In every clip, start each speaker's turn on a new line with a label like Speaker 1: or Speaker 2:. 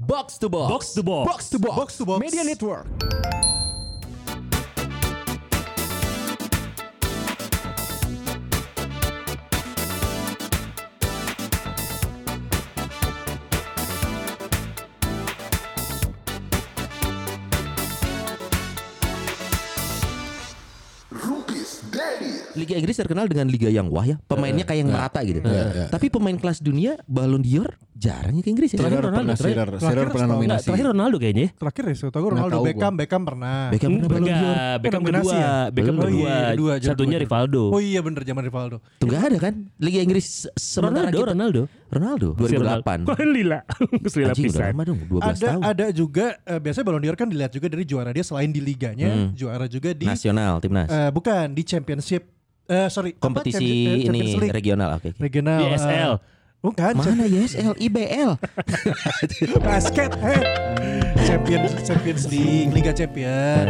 Speaker 1: Box to Box.
Speaker 2: Box to Box.
Speaker 1: Box to Box.
Speaker 3: Box to Box.
Speaker 1: Media Network.
Speaker 4: Rupis Daddy.
Speaker 5: Liga Inggris terkenal dengan liga yang wah ya, pemainnya kayak yang merata gitu.
Speaker 3: Iya, iya.
Speaker 5: Tapi pemain kelas dunia Ballon d'Or jarang ya ke Inggris ya.
Speaker 2: Terakhir
Speaker 3: Shearer
Speaker 2: Ronaldo,
Speaker 3: pernah
Speaker 2: terakhir-
Speaker 3: Shearer,
Speaker 2: terakhir
Speaker 3: Shearer pernah setahun.
Speaker 2: Oh, Enggak,
Speaker 3: nominasi.
Speaker 2: terakhir Ronaldo kayaknya ya. Hmm,
Speaker 3: Terakhir ya, setahu gue Nggak Ronaldo tahu gua. Beckham, Beckham pernah.
Speaker 5: Beckham pernah Ballon d'Or.
Speaker 2: Enggak, Beckham
Speaker 3: Belum
Speaker 2: kedua,
Speaker 3: generasi ya?
Speaker 2: Beckham
Speaker 3: Oh iya,
Speaker 2: kedua,
Speaker 3: kedua, jago
Speaker 2: satunya
Speaker 3: kedua.
Speaker 2: Rivaldo.
Speaker 3: Oh iya bener zaman Rivaldo.
Speaker 5: Tuh nggak ada kan? Liga Inggris se- sementara
Speaker 2: Ronaldo,
Speaker 5: kita-
Speaker 2: Ronaldo.
Speaker 5: Ronaldo
Speaker 2: Si Ronaldo.
Speaker 5: 2008.
Speaker 2: Kok lila? Selila
Speaker 5: Anjing udah
Speaker 2: pisan.
Speaker 5: lama dong, 12
Speaker 3: Ada
Speaker 5: tahun.
Speaker 3: ada juga eh, biasanya Ballon d'Or kan dilihat juga dari juara dia selain di liganya, juara juga di
Speaker 5: Nasional timnas.
Speaker 3: eh, bukan di championship eh sorry apa?
Speaker 5: Kompetisi
Speaker 3: Champion-
Speaker 5: ini
Speaker 3: Champions League.
Speaker 5: regional oke. oke.
Speaker 3: regional eh,
Speaker 2: ISL.
Speaker 3: bukan
Speaker 5: Mana ya, YSL, IBL?
Speaker 3: basket eh Champions Champions League Liga Champion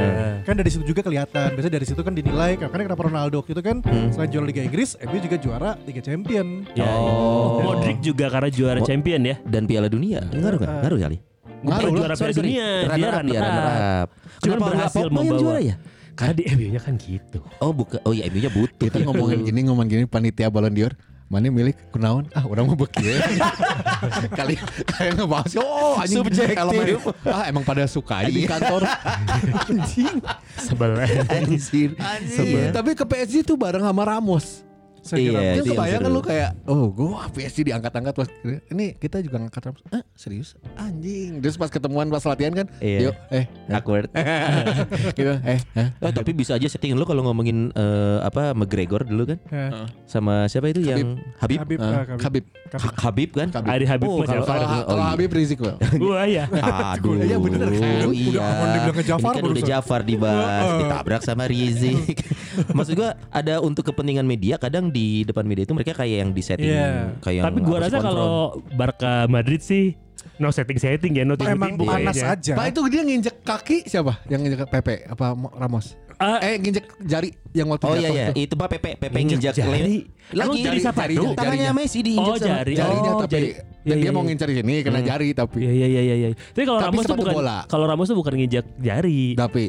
Speaker 3: kan dari situ juga kelihatan biasanya dari situ kan dinilai karena kenapa Ronaldo waktu itu kan selain juara Liga Inggris eh, dia juga juara Liga Champion
Speaker 2: Ya, ya. Modric juga karena juara
Speaker 5: Mo-
Speaker 2: champion ya.
Speaker 5: Dan Piala Dunia ngaruh nggak? Ngaruh kali.
Speaker 2: Bukan
Speaker 5: Ngaruh
Speaker 2: juara
Speaker 5: lah. Sorry,
Speaker 2: Piala
Speaker 5: sorry.
Speaker 2: Dunia, dia
Speaker 5: Runner up, dia
Speaker 2: runner
Speaker 5: runner up.
Speaker 2: up. Cuman
Speaker 5: Kenapa nggak
Speaker 2: berhasil
Speaker 5: Pogba yang
Speaker 2: membawa.
Speaker 5: juara ya?
Speaker 2: Karena di MU-nya kan gitu.
Speaker 5: Oh bukan, oh iya MU-nya butut.
Speaker 6: Kita ngomongin gini ngomongin gini panitia Ballon d'Or mana milik kunaon ah orang mau bekieu kali kayak ngebahas oh anjing
Speaker 5: Subjektif.
Speaker 6: elemen- ah emang pada suka aja di kantor Iya. anjing
Speaker 2: Sebelah.
Speaker 5: Anjir.
Speaker 6: Iya, tapi ke PSG tuh bareng sama Ramos
Speaker 3: Saya
Speaker 5: Iya.
Speaker 3: kira- eh,
Speaker 6: Dia
Speaker 5: itu yang
Speaker 6: kebayang kan
Speaker 5: seru.
Speaker 6: lu kayak oh gua PSG diangkat-angkat pas ini kita juga ngangkat Ramos ah serius anjing terus pas ketemuan pas latihan kan
Speaker 5: Iya.
Speaker 6: yuk eh
Speaker 5: Awkward.
Speaker 6: gitu eh eh.
Speaker 5: Eh, tapi bisa aja setting lo kalau ngomongin eh, apa McGregor dulu kan
Speaker 3: Eh,
Speaker 5: sama siapa itu yang Habib
Speaker 3: Habib,
Speaker 6: Ah,
Speaker 3: eh, Habib.
Speaker 6: Habib
Speaker 5: Ha- Habib kan?
Speaker 6: Habib.
Speaker 2: Ari Habib
Speaker 5: Oh,
Speaker 2: mah
Speaker 5: kalau-
Speaker 2: Jafar.
Speaker 6: kalau kalau
Speaker 5: iya.
Speaker 6: Habib Rizik well.
Speaker 2: Buaya.
Speaker 5: Aduh,
Speaker 3: Iya, bener kan? Udah
Speaker 5: iya.
Speaker 3: aman dibilang ke
Speaker 5: Ini
Speaker 3: Jafar
Speaker 5: kan udah
Speaker 3: barusan.
Speaker 5: Jafar dibahas, ditabrak sama Rizik. Maksud gua ada untuk kepentingan media kadang di depan media itu mereka kayak yang di setting
Speaker 3: Iya.
Speaker 5: kayak yang
Speaker 2: Tapi gua
Speaker 5: harus
Speaker 2: rasa
Speaker 5: kontrol.
Speaker 2: kalau Barca Madrid sih no setting setting ya, no
Speaker 3: Oh, emang
Speaker 2: timbu-timbu
Speaker 3: panas
Speaker 2: kayaknya.
Speaker 3: aja
Speaker 6: Pak itu dia nginjek kaki siapa? Yang nginjek Pepe apa Mo- Ramos?
Speaker 2: Ah.
Speaker 6: eh nginjek jari yang waktu
Speaker 5: Oh iya
Speaker 6: jatuh
Speaker 5: iya,
Speaker 6: itu.
Speaker 5: itu Pak Pepe Pepe
Speaker 2: Nginjek
Speaker 5: nginjak
Speaker 2: jari.
Speaker 5: le-
Speaker 2: Emang
Speaker 5: Lagi
Speaker 2: jari siapa
Speaker 6: jarinya,
Speaker 2: tuh?
Speaker 5: tangannya
Speaker 6: jarinya.
Speaker 5: Messi diinjak
Speaker 2: Oh,
Speaker 5: sama
Speaker 2: jari.
Speaker 6: Jarinya
Speaker 2: Oh,
Speaker 6: tapi
Speaker 2: jari. Iya,
Speaker 6: dan dia
Speaker 2: iya,
Speaker 6: mau
Speaker 2: iya.
Speaker 6: ngincer ini kena jari tapi
Speaker 2: Iya iya iya iya. iya. Tapi kalau
Speaker 6: Tapi
Speaker 2: Ramos tuh
Speaker 6: sepatu
Speaker 2: bukan
Speaker 6: bola.
Speaker 2: kalau Ramos tuh bukan nginjak jari.
Speaker 6: tapi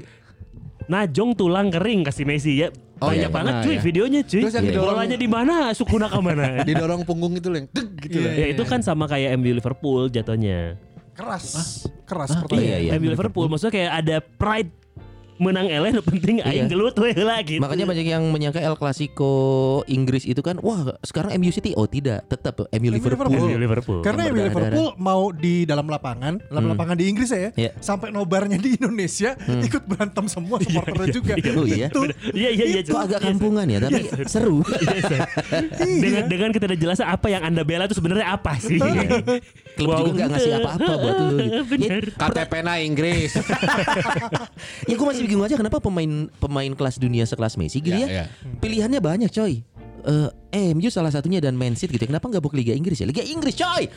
Speaker 2: Najong tulang kering kasih Messi ya.
Speaker 6: Oh,
Speaker 2: Banyak
Speaker 6: iya,
Speaker 2: banget
Speaker 6: nah,
Speaker 2: cuy
Speaker 6: iya.
Speaker 2: videonya cuy.
Speaker 6: Terus yang
Speaker 2: Iya.
Speaker 6: didorong-
Speaker 2: Bolanya di mana? Sukuna ke mana?
Speaker 6: didorong punggung itu loh yang deg gitu loh.
Speaker 2: ya itu kan sama kayak MU Liverpool jatuhnya.
Speaker 3: keras keras
Speaker 5: Iya,
Speaker 3: pertandingan
Speaker 5: iya.
Speaker 2: MU Liverpool maksudnya kayak ada pride menang eleh nu penting aing gelut we heula gitu.
Speaker 5: Makanya banyak yang menyangka El Clasico Inggris itu kan wah sekarang MU City oh tidak tetap MU Liverpool.
Speaker 3: Liverpool.
Speaker 2: MU Liverpool.
Speaker 5: Yang
Speaker 3: Karena MU Liverpool mau di dalam lapangan, dalam lapangan di Inggris
Speaker 5: Hmm.
Speaker 3: ya,
Speaker 5: Iya.
Speaker 3: sampai nobarnya di Indonesia ikut berantem semua supporternya juga.
Speaker 5: Oh iya.
Speaker 3: Itu
Speaker 2: Iya iya iya.
Speaker 5: Kok agak kampungan ya tapi seru.
Speaker 3: iya.
Speaker 2: dengan dengan kita udah jelasin apa yang anda bela itu sebenarnya apa sih? Iya.
Speaker 5: Klub juga nggak ngasih apa-apa buat lu. gitu. Ya,
Speaker 2: Bener.
Speaker 6: KTP na Inggris.
Speaker 5: ya gue masih bingung aja kenapa pemain pemain kelas dunia sekelas Messi gitu
Speaker 6: Ya, ya.
Speaker 5: ya. Pilihannya banyak coy. Eh, MU salah satunya dan Man City gitu. ya. Kenapa nggak bok Liga Inggris ya? Liga Inggris coy.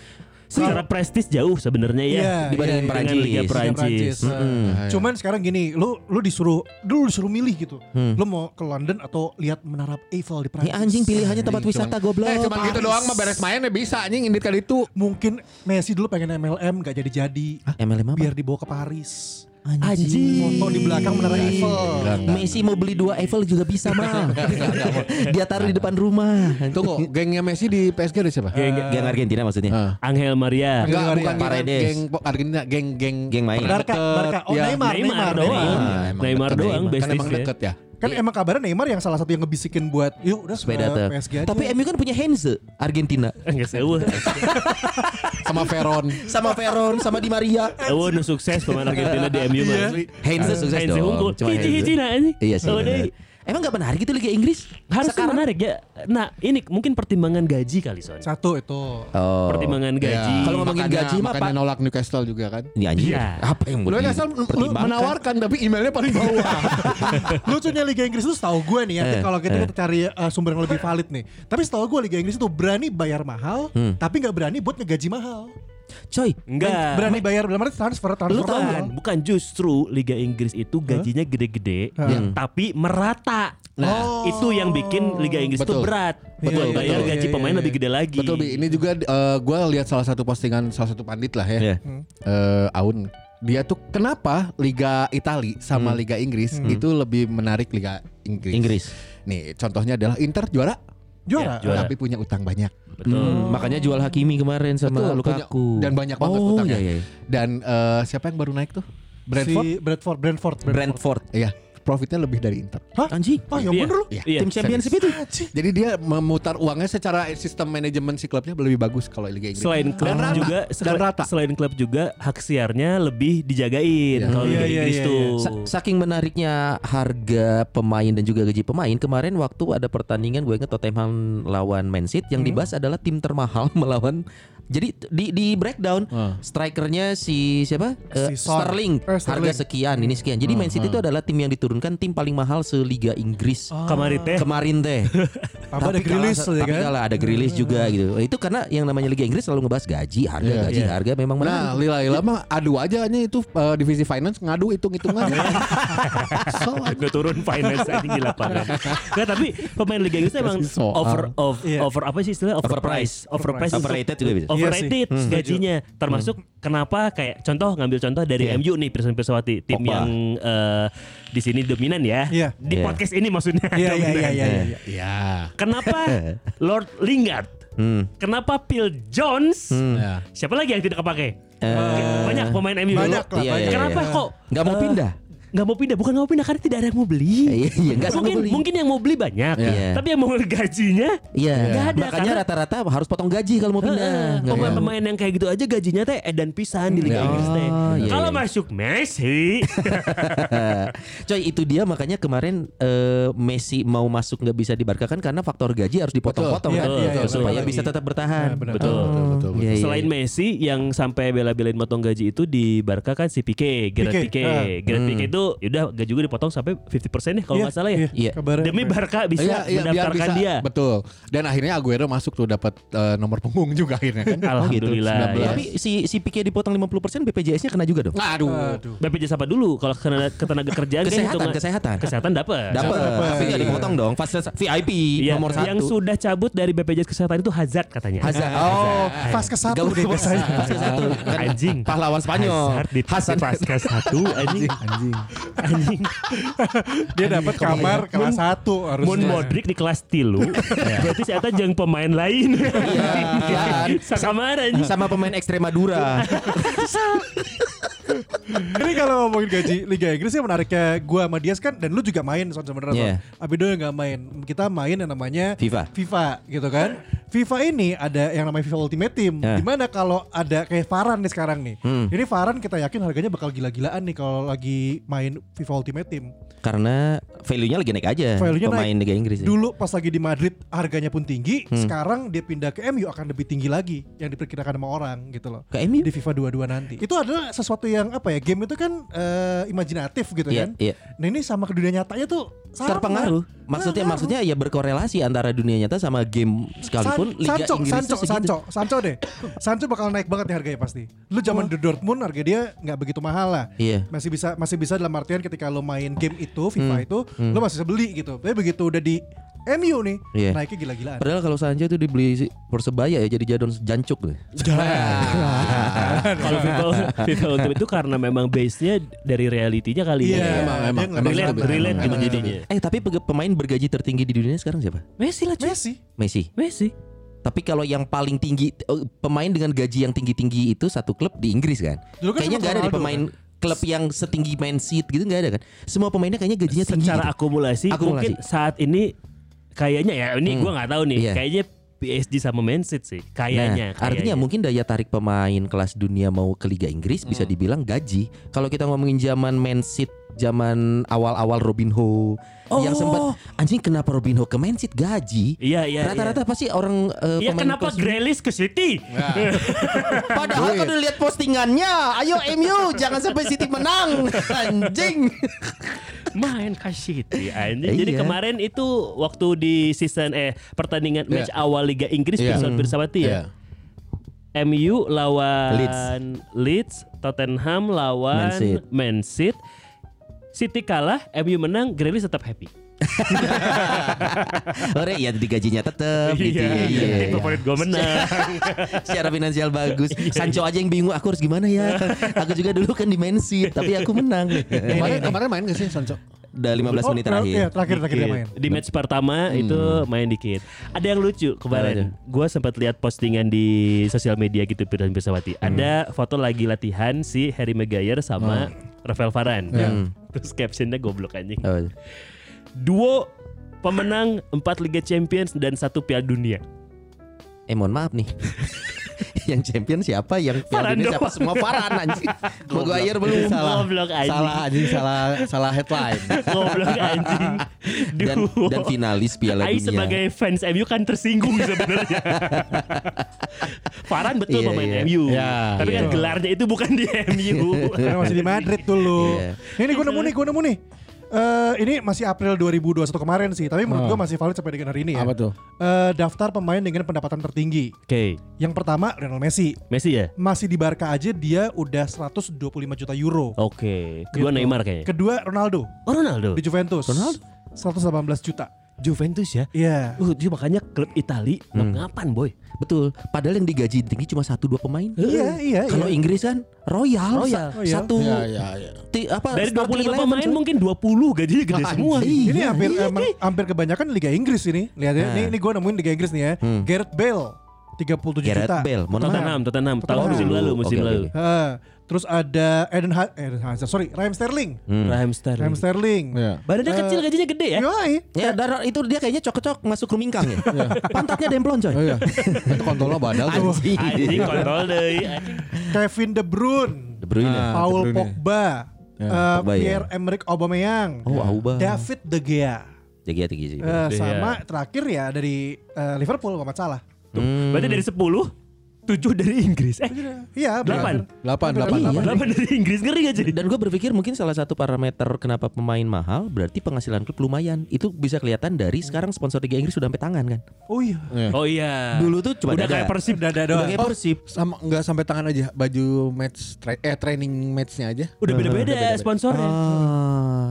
Speaker 2: Secara prestis jauh sebenarnya ya
Speaker 3: Iya,
Speaker 5: dibandingin
Speaker 2: dengan
Speaker 5: Prancis. Hmm, Iya.
Speaker 2: Liga
Speaker 5: Liga
Speaker 2: Prancis.
Speaker 3: Prancis. Cuman sekarang gini, lu lu disuruh dulu disuruh milih gitu. Lu mau ke London atau lihat menara Eiffel di
Speaker 5: Hmm.
Speaker 3: Prancis?
Speaker 5: Ya
Speaker 3: Iya.
Speaker 5: anjing pilihannya tempat
Speaker 6: Anjing,
Speaker 5: wisata
Speaker 6: cuman-
Speaker 5: goblok.
Speaker 6: Eh cuman gitu doang mah beres main ya bisa anjing indit kali itu.
Speaker 3: Mungkin Messi dulu pengen MLM gak jadi-jadi.
Speaker 5: MLM apa?
Speaker 3: Biar dibawa ke Paris.
Speaker 5: Anjing. Iya,
Speaker 3: Foto di belakang menara
Speaker 6: Iya Enggak,
Speaker 3: Eiffel.
Speaker 6: enggak, enggak.
Speaker 5: Messi mau beli dua Eiffel juga bisa mal. Dia taruh di depan rumah.
Speaker 6: Tunggu, gengnya Messi di PSG ada siapa?
Speaker 2: Geng-
Speaker 5: Geng Argentina maksudnya.
Speaker 6: Ah.
Speaker 2: Angel Maria.
Speaker 6: Enggak,
Speaker 3: Enggak,
Speaker 6: bukan geng,
Speaker 5: Paredes.
Speaker 6: geng Argentina, geng geng
Speaker 5: Geng main.
Speaker 6: pernah
Speaker 3: Barca,
Speaker 6: deket,
Speaker 3: Barca. Oh,
Speaker 6: ya.
Speaker 3: Neymar,
Speaker 2: Neymar
Speaker 3: Neymar,
Speaker 2: doang.
Speaker 3: Neymar.
Speaker 6: Ah, emang
Speaker 2: Neymar
Speaker 6: deket,
Speaker 2: doang,
Speaker 6: Kan emang
Speaker 2: bestisnya.
Speaker 6: deket ya.
Speaker 3: Kan emang kabarnya Neymar yang salah satu yang ngebisikin buat yuk udah eh,
Speaker 5: Supaya
Speaker 3: ke
Speaker 5: datang.
Speaker 3: PSG aja.
Speaker 5: Tapi MU kan punya Henze Argentina
Speaker 2: Enggak sewa.
Speaker 6: Sama Veron.
Speaker 5: sama Peron sama Di Maria.
Speaker 2: Sewa nu sukses pemain Argentina di MU mah.
Speaker 5: Henze sukses
Speaker 2: Heinze
Speaker 5: dong.
Speaker 2: unggul.
Speaker 5: Cuma Heinze.
Speaker 2: Hiji-hiji nah, ini.
Speaker 5: Iya sih.
Speaker 2: Oh,
Speaker 5: benar.
Speaker 2: deh.
Speaker 5: Emang gak menarik itu Liga Inggris?
Speaker 2: Harus
Speaker 5: Sekarang-
Speaker 2: menarik ya. Nah, ini mungkin pertimbangan gaji kali soalnya.
Speaker 3: Satu itu.
Speaker 5: Oh.
Speaker 2: Pertimbangan
Speaker 3: iya.
Speaker 2: gaji.
Speaker 6: Iya.
Speaker 5: Kalau ngomongin
Speaker 6: makanya-
Speaker 5: gaji mah,
Speaker 6: makanya
Speaker 5: Pak.
Speaker 6: nolak Newcastle juga kan.
Speaker 5: Ini anjir.
Speaker 2: Iya.
Speaker 5: Apa yang
Speaker 6: Lu
Speaker 5: buat
Speaker 6: asal lu
Speaker 5: dipertimbangkan?
Speaker 6: menawarkan tapi emailnya paling bawah.
Speaker 3: Lucunya Liga Inggris itu setahu gue nih ya, kalau kita, kita cari eh, sumber yang lebih valid nih. Tapi setahu gue Liga Inggris itu berani bayar mahal, tapi nggak berani buat ngegaji mahal.
Speaker 5: Coy,
Speaker 2: Enggak.
Speaker 3: Berani bayar dalam arti transfer transfer
Speaker 2: bukan,
Speaker 3: doang.
Speaker 2: bukan justru Liga Inggris itu gajinya gede-gede,
Speaker 5: Hah?
Speaker 2: tapi merata.
Speaker 3: Nah.
Speaker 2: itu yang bikin Liga Inggris itu
Speaker 6: Betul.
Speaker 2: berat.
Speaker 3: Betul,
Speaker 2: Betul, bayar
Speaker 6: betul.
Speaker 2: gaji
Speaker 3: Iya, iya,
Speaker 2: pemain
Speaker 3: iya.
Speaker 2: lebih gede lagi.
Speaker 6: Betul Bi, ini juga gue lihat salah satu postingan salah satu pandit lah ya.
Speaker 5: Iya.
Speaker 3: Hmm.
Speaker 6: Eh, Aun, dia tuh kenapa Liga Itali sama Liga Inggris itu lebih menarik Liga Hmm. Inggris.
Speaker 5: Inggris.
Speaker 6: Nih, contohnya adalah Inter juara,
Speaker 3: Juara.
Speaker 2: Juara.
Speaker 6: tapi punya utang banyak.
Speaker 2: Betul.
Speaker 5: Hmm, Makanya jual Hakimi kemarin sama
Speaker 6: Betul,
Speaker 5: Lukaku.
Speaker 6: punya- dan banyak banget
Speaker 5: oh,
Speaker 6: utangnya.
Speaker 5: iya, iya.
Speaker 6: Dan eh, siapa yang baru naik tuh? Brentford.
Speaker 3: Si Brentford, Brentford,
Speaker 5: Brentford.
Speaker 6: Iya, profitnya lebih dari Inter.
Speaker 5: Anjing.
Speaker 3: Oh, yang
Speaker 2: Iya.
Speaker 3: bener lu.
Speaker 6: Iya.
Speaker 2: Iya.
Speaker 5: Tim championship itu.
Speaker 6: Jadi dia memutar uangnya secara sistem manajemen si klubnya lebih bagus kalau Liga Inggris.
Speaker 2: Selain klub
Speaker 6: dan rata.
Speaker 2: juga,
Speaker 6: dan rata.
Speaker 2: selain klub juga hak siarnya lebih dijagain
Speaker 6: Iya.
Speaker 2: kalau
Speaker 3: Iya,
Speaker 2: Liga
Speaker 3: iya,
Speaker 2: Inggris
Speaker 3: iya,
Speaker 2: tuh.
Speaker 5: Sa- Saking menariknya harga pemain dan juga gaji pemain kemarin waktu ada pertandingan gue inget Tottenham lawan Man City yang
Speaker 3: Hmm.
Speaker 5: dibahas adalah tim termahal melawan jadi di di breakdown
Speaker 6: Hmm.
Speaker 5: strikernya si siapa Eh,
Speaker 3: Ah. Si Son.
Speaker 5: Sterling
Speaker 3: Eh, Sterling. Ah,
Speaker 5: harga sekian ini sekian jadi Man City itu adalah tim yang diturunkan tim paling mahal seliga Inggris
Speaker 2: Kemarin teh
Speaker 5: kemarin teh
Speaker 3: Ah. Apa ada
Speaker 5: kalah-
Speaker 3: grilis ya
Speaker 5: tapi
Speaker 3: kan?
Speaker 5: kalah ada grilis juga gitu itu karena yang namanya liga Inggris selalu ngebahas gaji harga
Speaker 6: Iya.
Speaker 5: gaji
Speaker 2: Iya.
Speaker 5: harga memang menarik
Speaker 6: Nah, Lila Lila mah adu aja hanya itu eh, divisi finance ngadu hitung-hitungan.
Speaker 2: Iya.
Speaker 6: so,
Speaker 2: Gue turun finance anjing di lapangan. Nggak, tapi pemain Liga Inggris emang
Speaker 6: Kasih soal.
Speaker 2: over of-
Speaker 3: Iya.
Speaker 2: over apa sih istilahnya overprice, overprice,
Speaker 5: Overrated juga
Speaker 2: Oh.
Speaker 5: bisa.
Speaker 2: overrated
Speaker 3: Iya sih. Hmm.
Speaker 2: gajinya. Termasuk kenapa kayak contoh ngambil contoh dari MU nih Pirsan Pirsawati tim
Speaker 5: Iya. Pogba.
Speaker 2: yang eh, di sini dominan ya.
Speaker 3: Iya.
Speaker 2: Di
Speaker 5: Iya.
Speaker 2: podcast ini maksudnya.
Speaker 3: Iya, iya, iya,
Speaker 2: dominan.
Speaker 3: iya, iya.
Speaker 6: ya.
Speaker 2: Kenapa Lord Lingard?
Speaker 5: Hmm.
Speaker 2: Kenapa Phil Jones?
Speaker 6: Ya.
Speaker 2: Siapa lagi yang tidak kepake?
Speaker 5: Eh,
Speaker 2: banyak pemain MU dulu.
Speaker 3: Banyak lah,
Speaker 5: Iya,
Speaker 3: banyak.
Speaker 5: iya,
Speaker 2: Kenapa
Speaker 5: iya.
Speaker 2: kok
Speaker 5: Nggak mau
Speaker 2: eh,
Speaker 5: pindah?
Speaker 2: Nggak mau pindah, bukan nggak mau pindah karena tidak ada yang mau beli.
Speaker 5: Iya, iya, nggak
Speaker 2: mungkin
Speaker 5: mau beli.
Speaker 2: mungkin yang mau beli banyak,
Speaker 5: Iya.
Speaker 2: tapi yang mau gajinya
Speaker 5: Iya,
Speaker 2: nggak ada.
Speaker 5: makanya
Speaker 2: karena-
Speaker 5: rata-rata harus potong gaji kalau mau
Speaker 2: Heeh,
Speaker 5: pindah. Nggak ada.
Speaker 2: Pemain-pemain yang kayak gitu aja gajinya teh edan pisan di Liga
Speaker 5: Iya.
Speaker 2: Inggris teh.
Speaker 5: Ah, iya,
Speaker 2: Kalau
Speaker 5: iya.
Speaker 2: masuk Messi,
Speaker 5: Coy, itu dia makanya kemarin eh, Messi mau masuk nggak bisa di Barca kan karena faktor gaji harus dipotong-potong
Speaker 6: Betul.
Speaker 5: kan
Speaker 3: Iya, iya,
Speaker 5: supaya
Speaker 3: betul.
Speaker 5: bisa tetap bertahan.
Speaker 3: Iya, benar.
Speaker 6: Betul,
Speaker 2: Hmm.
Speaker 6: betul, betul, betul.
Speaker 5: Iya, iya.
Speaker 2: selain Messi yang sampai bela-belain motong gaji itu di Barca kan si Pique, Gerard
Speaker 3: Pique,
Speaker 2: Pique.
Speaker 3: ah.
Speaker 2: Gerard
Speaker 5: Hmm.
Speaker 2: Pique itu udah gaji juga dipotong sampai 50% nih kalau nggak salah ya.
Speaker 5: Iya.
Speaker 3: Kabarnya.
Speaker 2: Demi Barca bisa
Speaker 6: Iya, iya, biar
Speaker 2: mendaftarkan
Speaker 6: bisa.
Speaker 2: dia.
Speaker 6: Betul. Dan akhirnya Aguero masuk tuh dapat eh, nomor punggung juga akhirnya kan.
Speaker 2: Alhamdulillah. ya. iya.
Speaker 6: Oh gitu,
Speaker 5: Nah,
Speaker 6: 19.
Speaker 5: Tapi si si Pique dipotong 50% BPJS-nya kena juga dong.
Speaker 6: Aduh.
Speaker 3: Aduh.
Speaker 2: BPJS apa dulu kalau kena ketenaga kerjaan kan
Speaker 5: Kesehatan,
Speaker 2: hitungan-
Speaker 5: kesehatan.
Speaker 2: kesehatan dapat.
Speaker 5: Dapat,
Speaker 3: Dapat,
Speaker 5: tapi nggak
Speaker 3: iya.
Speaker 5: dipotong dong. Fasilitas VIP
Speaker 2: Iya,
Speaker 5: nomor satu.
Speaker 2: yang sudah cabut dari BPJS kesehatan itu Hazard katanya.
Speaker 5: Hazard.
Speaker 6: Oh,
Speaker 3: Fast ke satu
Speaker 5: Gabung
Speaker 3: deh
Speaker 5: nomor
Speaker 3: biasanya.
Speaker 5: fase satu. Kan
Speaker 2: Anjing.
Speaker 5: Pahlawan Spanyol.
Speaker 2: Hazard di
Speaker 5: Hasan.
Speaker 2: Pasca satu anjing.
Speaker 6: anjing.
Speaker 2: anjing.
Speaker 3: Dia dapat kamar kelas satu harusnya.
Speaker 2: Mun Modric di kelas tilu, berarti saya tahu jeung pemain lain.
Speaker 5: Iya.
Speaker 2: Sakamar anjing.
Speaker 5: Sama pemain Extremadura.
Speaker 3: Ini kalau ngomongin gaji Liga Inggris yang menariknya gua sama Dias kan dan lu juga main Son sebenarnya.
Speaker 5: Iya.
Speaker 3: Son. Abido yang nggak main. Kita main yang namanya
Speaker 5: FIFA.
Speaker 3: FIFA gitu kan. FIFA ini ada yang namanya FIFA Ultimate Team.
Speaker 5: Ya.
Speaker 3: Dimana kalau ada kayak Varan nih sekarang nih. Ini Varan kita yakin harganya bakal gila-gilaan nih kalau lagi main FIFA Ultimate Team.
Speaker 5: Karena value-nya lagi naik aja
Speaker 3: Value-nya
Speaker 5: pemain
Speaker 3: naik.
Speaker 5: Liga Inggris. ya. ini.
Speaker 3: Dulu pas lagi di Madrid harganya pun tinggi, sekarang dia pindah ke MU akan lebih tinggi lagi yang diperkirakan sama orang gitu loh.
Speaker 5: Ke MU?
Speaker 3: Di FIFA 22 nanti. Itu adalah sesuatu yang apa ya? Game itu kan eh, imajinatif gitu
Speaker 5: Iya,
Speaker 3: kan.
Speaker 5: iya.
Speaker 3: Nah, ini sama Nah, ke dunia nyatanya tuh sama.
Speaker 5: terpengaruh. Maksudnya
Speaker 3: Pengaruh.
Speaker 5: maksudnya ya berkorelasi antara dunia nyata sama game sekalipun
Speaker 3: San-
Speaker 5: Liga
Speaker 3: nah. Sancho,
Speaker 5: Inggris
Speaker 3: Sancho,
Speaker 5: tuh segitu.
Speaker 3: Sancho, Sancho deh. Sancho bakal naik banget nih harganya pasti. Lu zaman di Dortmund harga dia nggak begitu mahal lah.
Speaker 5: Oh. Iya.
Speaker 3: Masih bisa masih bisa dalam artian ketika lu main game itu
Speaker 5: Hmm,
Speaker 3: FIFA itu lu masih bisa beli gitu. Tapi begitu udah di MU nih
Speaker 5: Iya.
Speaker 3: naiknya gila-gilaan.
Speaker 5: Padahal kalau Sancho itu dibeli si- Persebaya ya jadi jadon jancuk deh. Iya,
Speaker 2: Kalau FIFA, FIFA Ultimate itu karena memang base-nya dari realitinya kali
Speaker 3: Iya,
Speaker 2: ya.
Speaker 6: emang, emang,
Speaker 3: dia nggak
Speaker 6: emang
Speaker 2: relate,
Speaker 3: bisa beli. Nah,
Speaker 2: relate
Speaker 6: Emang
Speaker 2: gitu
Speaker 6: gitu.
Speaker 2: jadinya.
Speaker 5: Eh tapi pege- pemain bergaji tertinggi di dunia sekarang siapa?
Speaker 2: Messi lah cuy.
Speaker 3: Messi.
Speaker 5: Messi.
Speaker 2: Messi.
Speaker 5: Tapi kalau yang paling tinggi eh, pemain dengan gaji yang tinggi-tinggi itu satu klub di Inggris kan.
Speaker 3: Dulu kan
Speaker 5: kayaknya
Speaker 3: sempat
Speaker 5: nggak ada di
Speaker 3: Ronaldo,
Speaker 5: pemain klub yang setinggi Man City gitu nggak ada kan. Semua pemainnya kayaknya gajinya tinggi.
Speaker 2: Secara
Speaker 5: gitu.
Speaker 2: akumulasi,
Speaker 5: Akumulasi.
Speaker 2: mungkin saat ini kayaknya ya ini
Speaker 5: Hmm.
Speaker 2: gua nggak tahu nih.
Speaker 5: Iya.
Speaker 2: Kayaknya PSG sama Man City sih.
Speaker 5: Nah,
Speaker 2: Kayaknya.
Speaker 5: artinya
Speaker 2: kayaknya.
Speaker 5: mungkin daya tarik pemain kelas dunia mau ke Liga Inggris bisa
Speaker 2: Hmm.
Speaker 5: dibilang gaji. Kalau kita ngomongin zaman Man City, zaman awal-awal Robin Ho
Speaker 2: Oh.
Speaker 5: yang sempat anjing kenapa Robin Ho ke Man City gaji?
Speaker 2: Iya iya.
Speaker 5: Rata-rata pasti orang eh,
Speaker 2: Iya Ya
Speaker 5: pemain kelas
Speaker 2: kenapa
Speaker 5: dunia-
Speaker 2: Grealish ke City?
Speaker 6: Iya.
Speaker 5: Padahal
Speaker 6: Duit.
Speaker 5: kan udah lihat postingannya. Ayo MU jangan sampai City menang. Anjing.
Speaker 2: main ke City anjing.
Speaker 5: Iya.
Speaker 2: Jadi kemarin itu
Speaker 5: Iya.
Speaker 2: waktu di season eh pertandingan match awal Liga Inggris
Speaker 5: Hmm.
Speaker 6: Iya.
Speaker 2: Pirsawan Pirsawati ya. MU lawan
Speaker 5: Leeds.
Speaker 2: Leeds, Tottenham lawan
Speaker 5: Man City.
Speaker 2: Man City. City kalah, MU menang, Grealish tetap happy.
Speaker 5: Ore ya jadi gajinya tetep gitu ya. Iya.
Speaker 2: tim favorit gue menang.
Speaker 5: Secara finansial bagus.
Speaker 2: Iya,
Speaker 5: Sancho aja yang bingung aku harus gimana ya. Aku juga dulu kan di Man City, tapi aku menang.
Speaker 6: Kemarin kemarin main gak sih Sancho?
Speaker 5: Udah 15
Speaker 2: Oh,
Speaker 5: menit terakhir.
Speaker 3: Iya, terakhir terakhir dia main.
Speaker 2: Di match pertama itu main dikit. Ada yang lucu kemarin. Gue sempat lihat postingan di sosial media gitu Firdan Pirsawati. Ada foto lagi latihan si Harry Maguire sama Rafael Varane. Terus captionnya goblok anjing.
Speaker 5: Oh.
Speaker 2: Duo pemenang 4 Liga Champions dan satu Piala Dunia.
Speaker 5: Eh mohon maaf nih. yang champion siapa? Yang Piala
Speaker 2: Farhan
Speaker 5: Dunia siapa?
Speaker 2: doang.
Speaker 5: Semua Farhan anjing. Maguire belum.
Speaker 2: Salah. Goblok anjing.
Speaker 6: Salah anjing, salah salah headline.
Speaker 2: Goblok anjing.
Speaker 5: Dan,
Speaker 2: Duo.
Speaker 5: dan finalis Piala
Speaker 2: Aing
Speaker 5: Dunia.
Speaker 2: sebagai fans MU kan tersinggung sebenarnya. Farhan betul
Speaker 5: Iya,
Speaker 2: pemain
Speaker 5: iya.
Speaker 2: MU.
Speaker 6: Iya,
Speaker 2: tapi kan
Speaker 3: iya.
Speaker 2: gelarnya itu bukan di MU.
Speaker 3: Karena masih di Madrid dulu.
Speaker 5: Iya.
Speaker 3: Ini nih gue nemu nih, gue nemu nih. Eh, ini masih April 2021 kemarin sih,
Speaker 5: Ah.
Speaker 3: tapi menurut gue masih valid sampai dengan hari ini
Speaker 5: Iya.
Speaker 3: ya.
Speaker 6: Apa tuh?
Speaker 3: Eh, daftar pemain dengan pendapatan tertinggi.
Speaker 2: Oke,
Speaker 3: Yang pertama Lionel Messi.
Speaker 2: Messi ya?
Speaker 3: Masih di Barca aja dia udah 125 juta euro.
Speaker 2: Oke. Kedua
Speaker 3: Gitu.
Speaker 2: Neymar kayaknya.
Speaker 3: Kedua Ronaldo
Speaker 2: Oh Ronaldo.
Speaker 3: di Juventus.
Speaker 5: Ronaldo?
Speaker 3: 118 juta.
Speaker 2: Juventus ya?
Speaker 3: Iya.
Speaker 2: Uh, dia makanya klub Itali
Speaker 5: Hmm.
Speaker 2: ngapan boy?
Speaker 5: Betul. Padahal yang digaji tinggi cuma satu dua
Speaker 2: Eh,
Speaker 5: pemain.
Speaker 3: Iya, iya,
Speaker 5: Kalau
Speaker 3: iya.
Speaker 5: Inggris kan royal,
Speaker 2: Royal.
Speaker 5: Sa- satu
Speaker 6: Iya iya iya.
Speaker 5: ti- apa
Speaker 2: Dari
Speaker 5: starting eleven,
Speaker 2: 25 pemain
Speaker 5: coy.
Speaker 2: mungkin 20 gajinya gede semua.
Speaker 5: Anjing.
Speaker 3: Ini
Speaker 5: Iya,
Speaker 3: hampir
Speaker 5: iya, Nah.
Speaker 3: emang hampir kebanyakan Liga Inggris ini. Lihat ya, ini, ini gue nemuin Liga Inggris nih ya. Gareth Bale 37
Speaker 5: Hmm. Gareth
Speaker 3: juta.
Speaker 5: Bale, mohon maaf.
Speaker 2: Tottenham, Tottenham, tahun
Speaker 3: Tottenham.
Speaker 2: musim lalu, musim
Speaker 5: Oke, oke,
Speaker 2: lalu.
Speaker 5: oke.
Speaker 3: Ha, terus ada Eden, ha Eden Hazard, sorry, Raheem Sterling.
Speaker 5: Hmm.
Speaker 2: Raheem Sterling.
Speaker 3: Raheem Sterling.
Speaker 6: Iya.
Speaker 2: Badannya kecil gajinya gede ya?
Speaker 3: Yoi.
Speaker 5: Ya, dar itu dia kayaknya cocok-cocok masuk rumingkang ya. Pantatnya demplon coy.
Speaker 6: Oh iya. Itu kontolnya badal tuh.
Speaker 5: Anjing.
Speaker 2: Anjing kontol deh. Anjing.
Speaker 3: Kevin De Bruyne,
Speaker 5: Ya, De Bruyne.
Speaker 6: Ah.
Speaker 3: Paul
Speaker 6: De Bruyne.
Speaker 3: Pogba,
Speaker 6: Ya,
Speaker 3: eh,
Speaker 5: Pogba, ya.
Speaker 3: Pierre Emerick Aubameyang,
Speaker 5: Oh, Auba.
Speaker 3: David De Gea,
Speaker 5: Jadi tinggi sih.
Speaker 3: Eh, sama terakhir ya dari eh, Liverpool Muhammad Salah.
Speaker 2: Tuh,
Speaker 5: Hmm.
Speaker 2: Berarti dari 10 7 dari Inggris. Eh,
Speaker 3: Iya,
Speaker 2: Delapan.
Speaker 3: benar.
Speaker 6: Delapan,
Speaker 3: Hampir
Speaker 6: delapan,
Speaker 3: ada
Speaker 6: delapan.
Speaker 2: 8 dari Inggris ngeri gak jadi?
Speaker 5: Dan gue berpikir mungkin salah satu parameter kenapa pemain mahal berarti penghasilan klub lumayan. Itu bisa kelihatan dari sekarang sponsor Liga Inggris sudah sampai tangan kan.
Speaker 3: Oh iya.
Speaker 2: Oh iya.
Speaker 5: Dulu tuh cuma dada.
Speaker 2: udah
Speaker 5: ya?
Speaker 2: kayak Persib
Speaker 3: Dada
Speaker 5: Udah
Speaker 3: doang.
Speaker 5: kayak Persib.
Speaker 6: Sama enggak sampai tangan aja baju match tra- eh training matchnya aja.
Speaker 2: Oh, udah beda-beda sponsornya.
Speaker 6: Oh.
Speaker 5: Ah.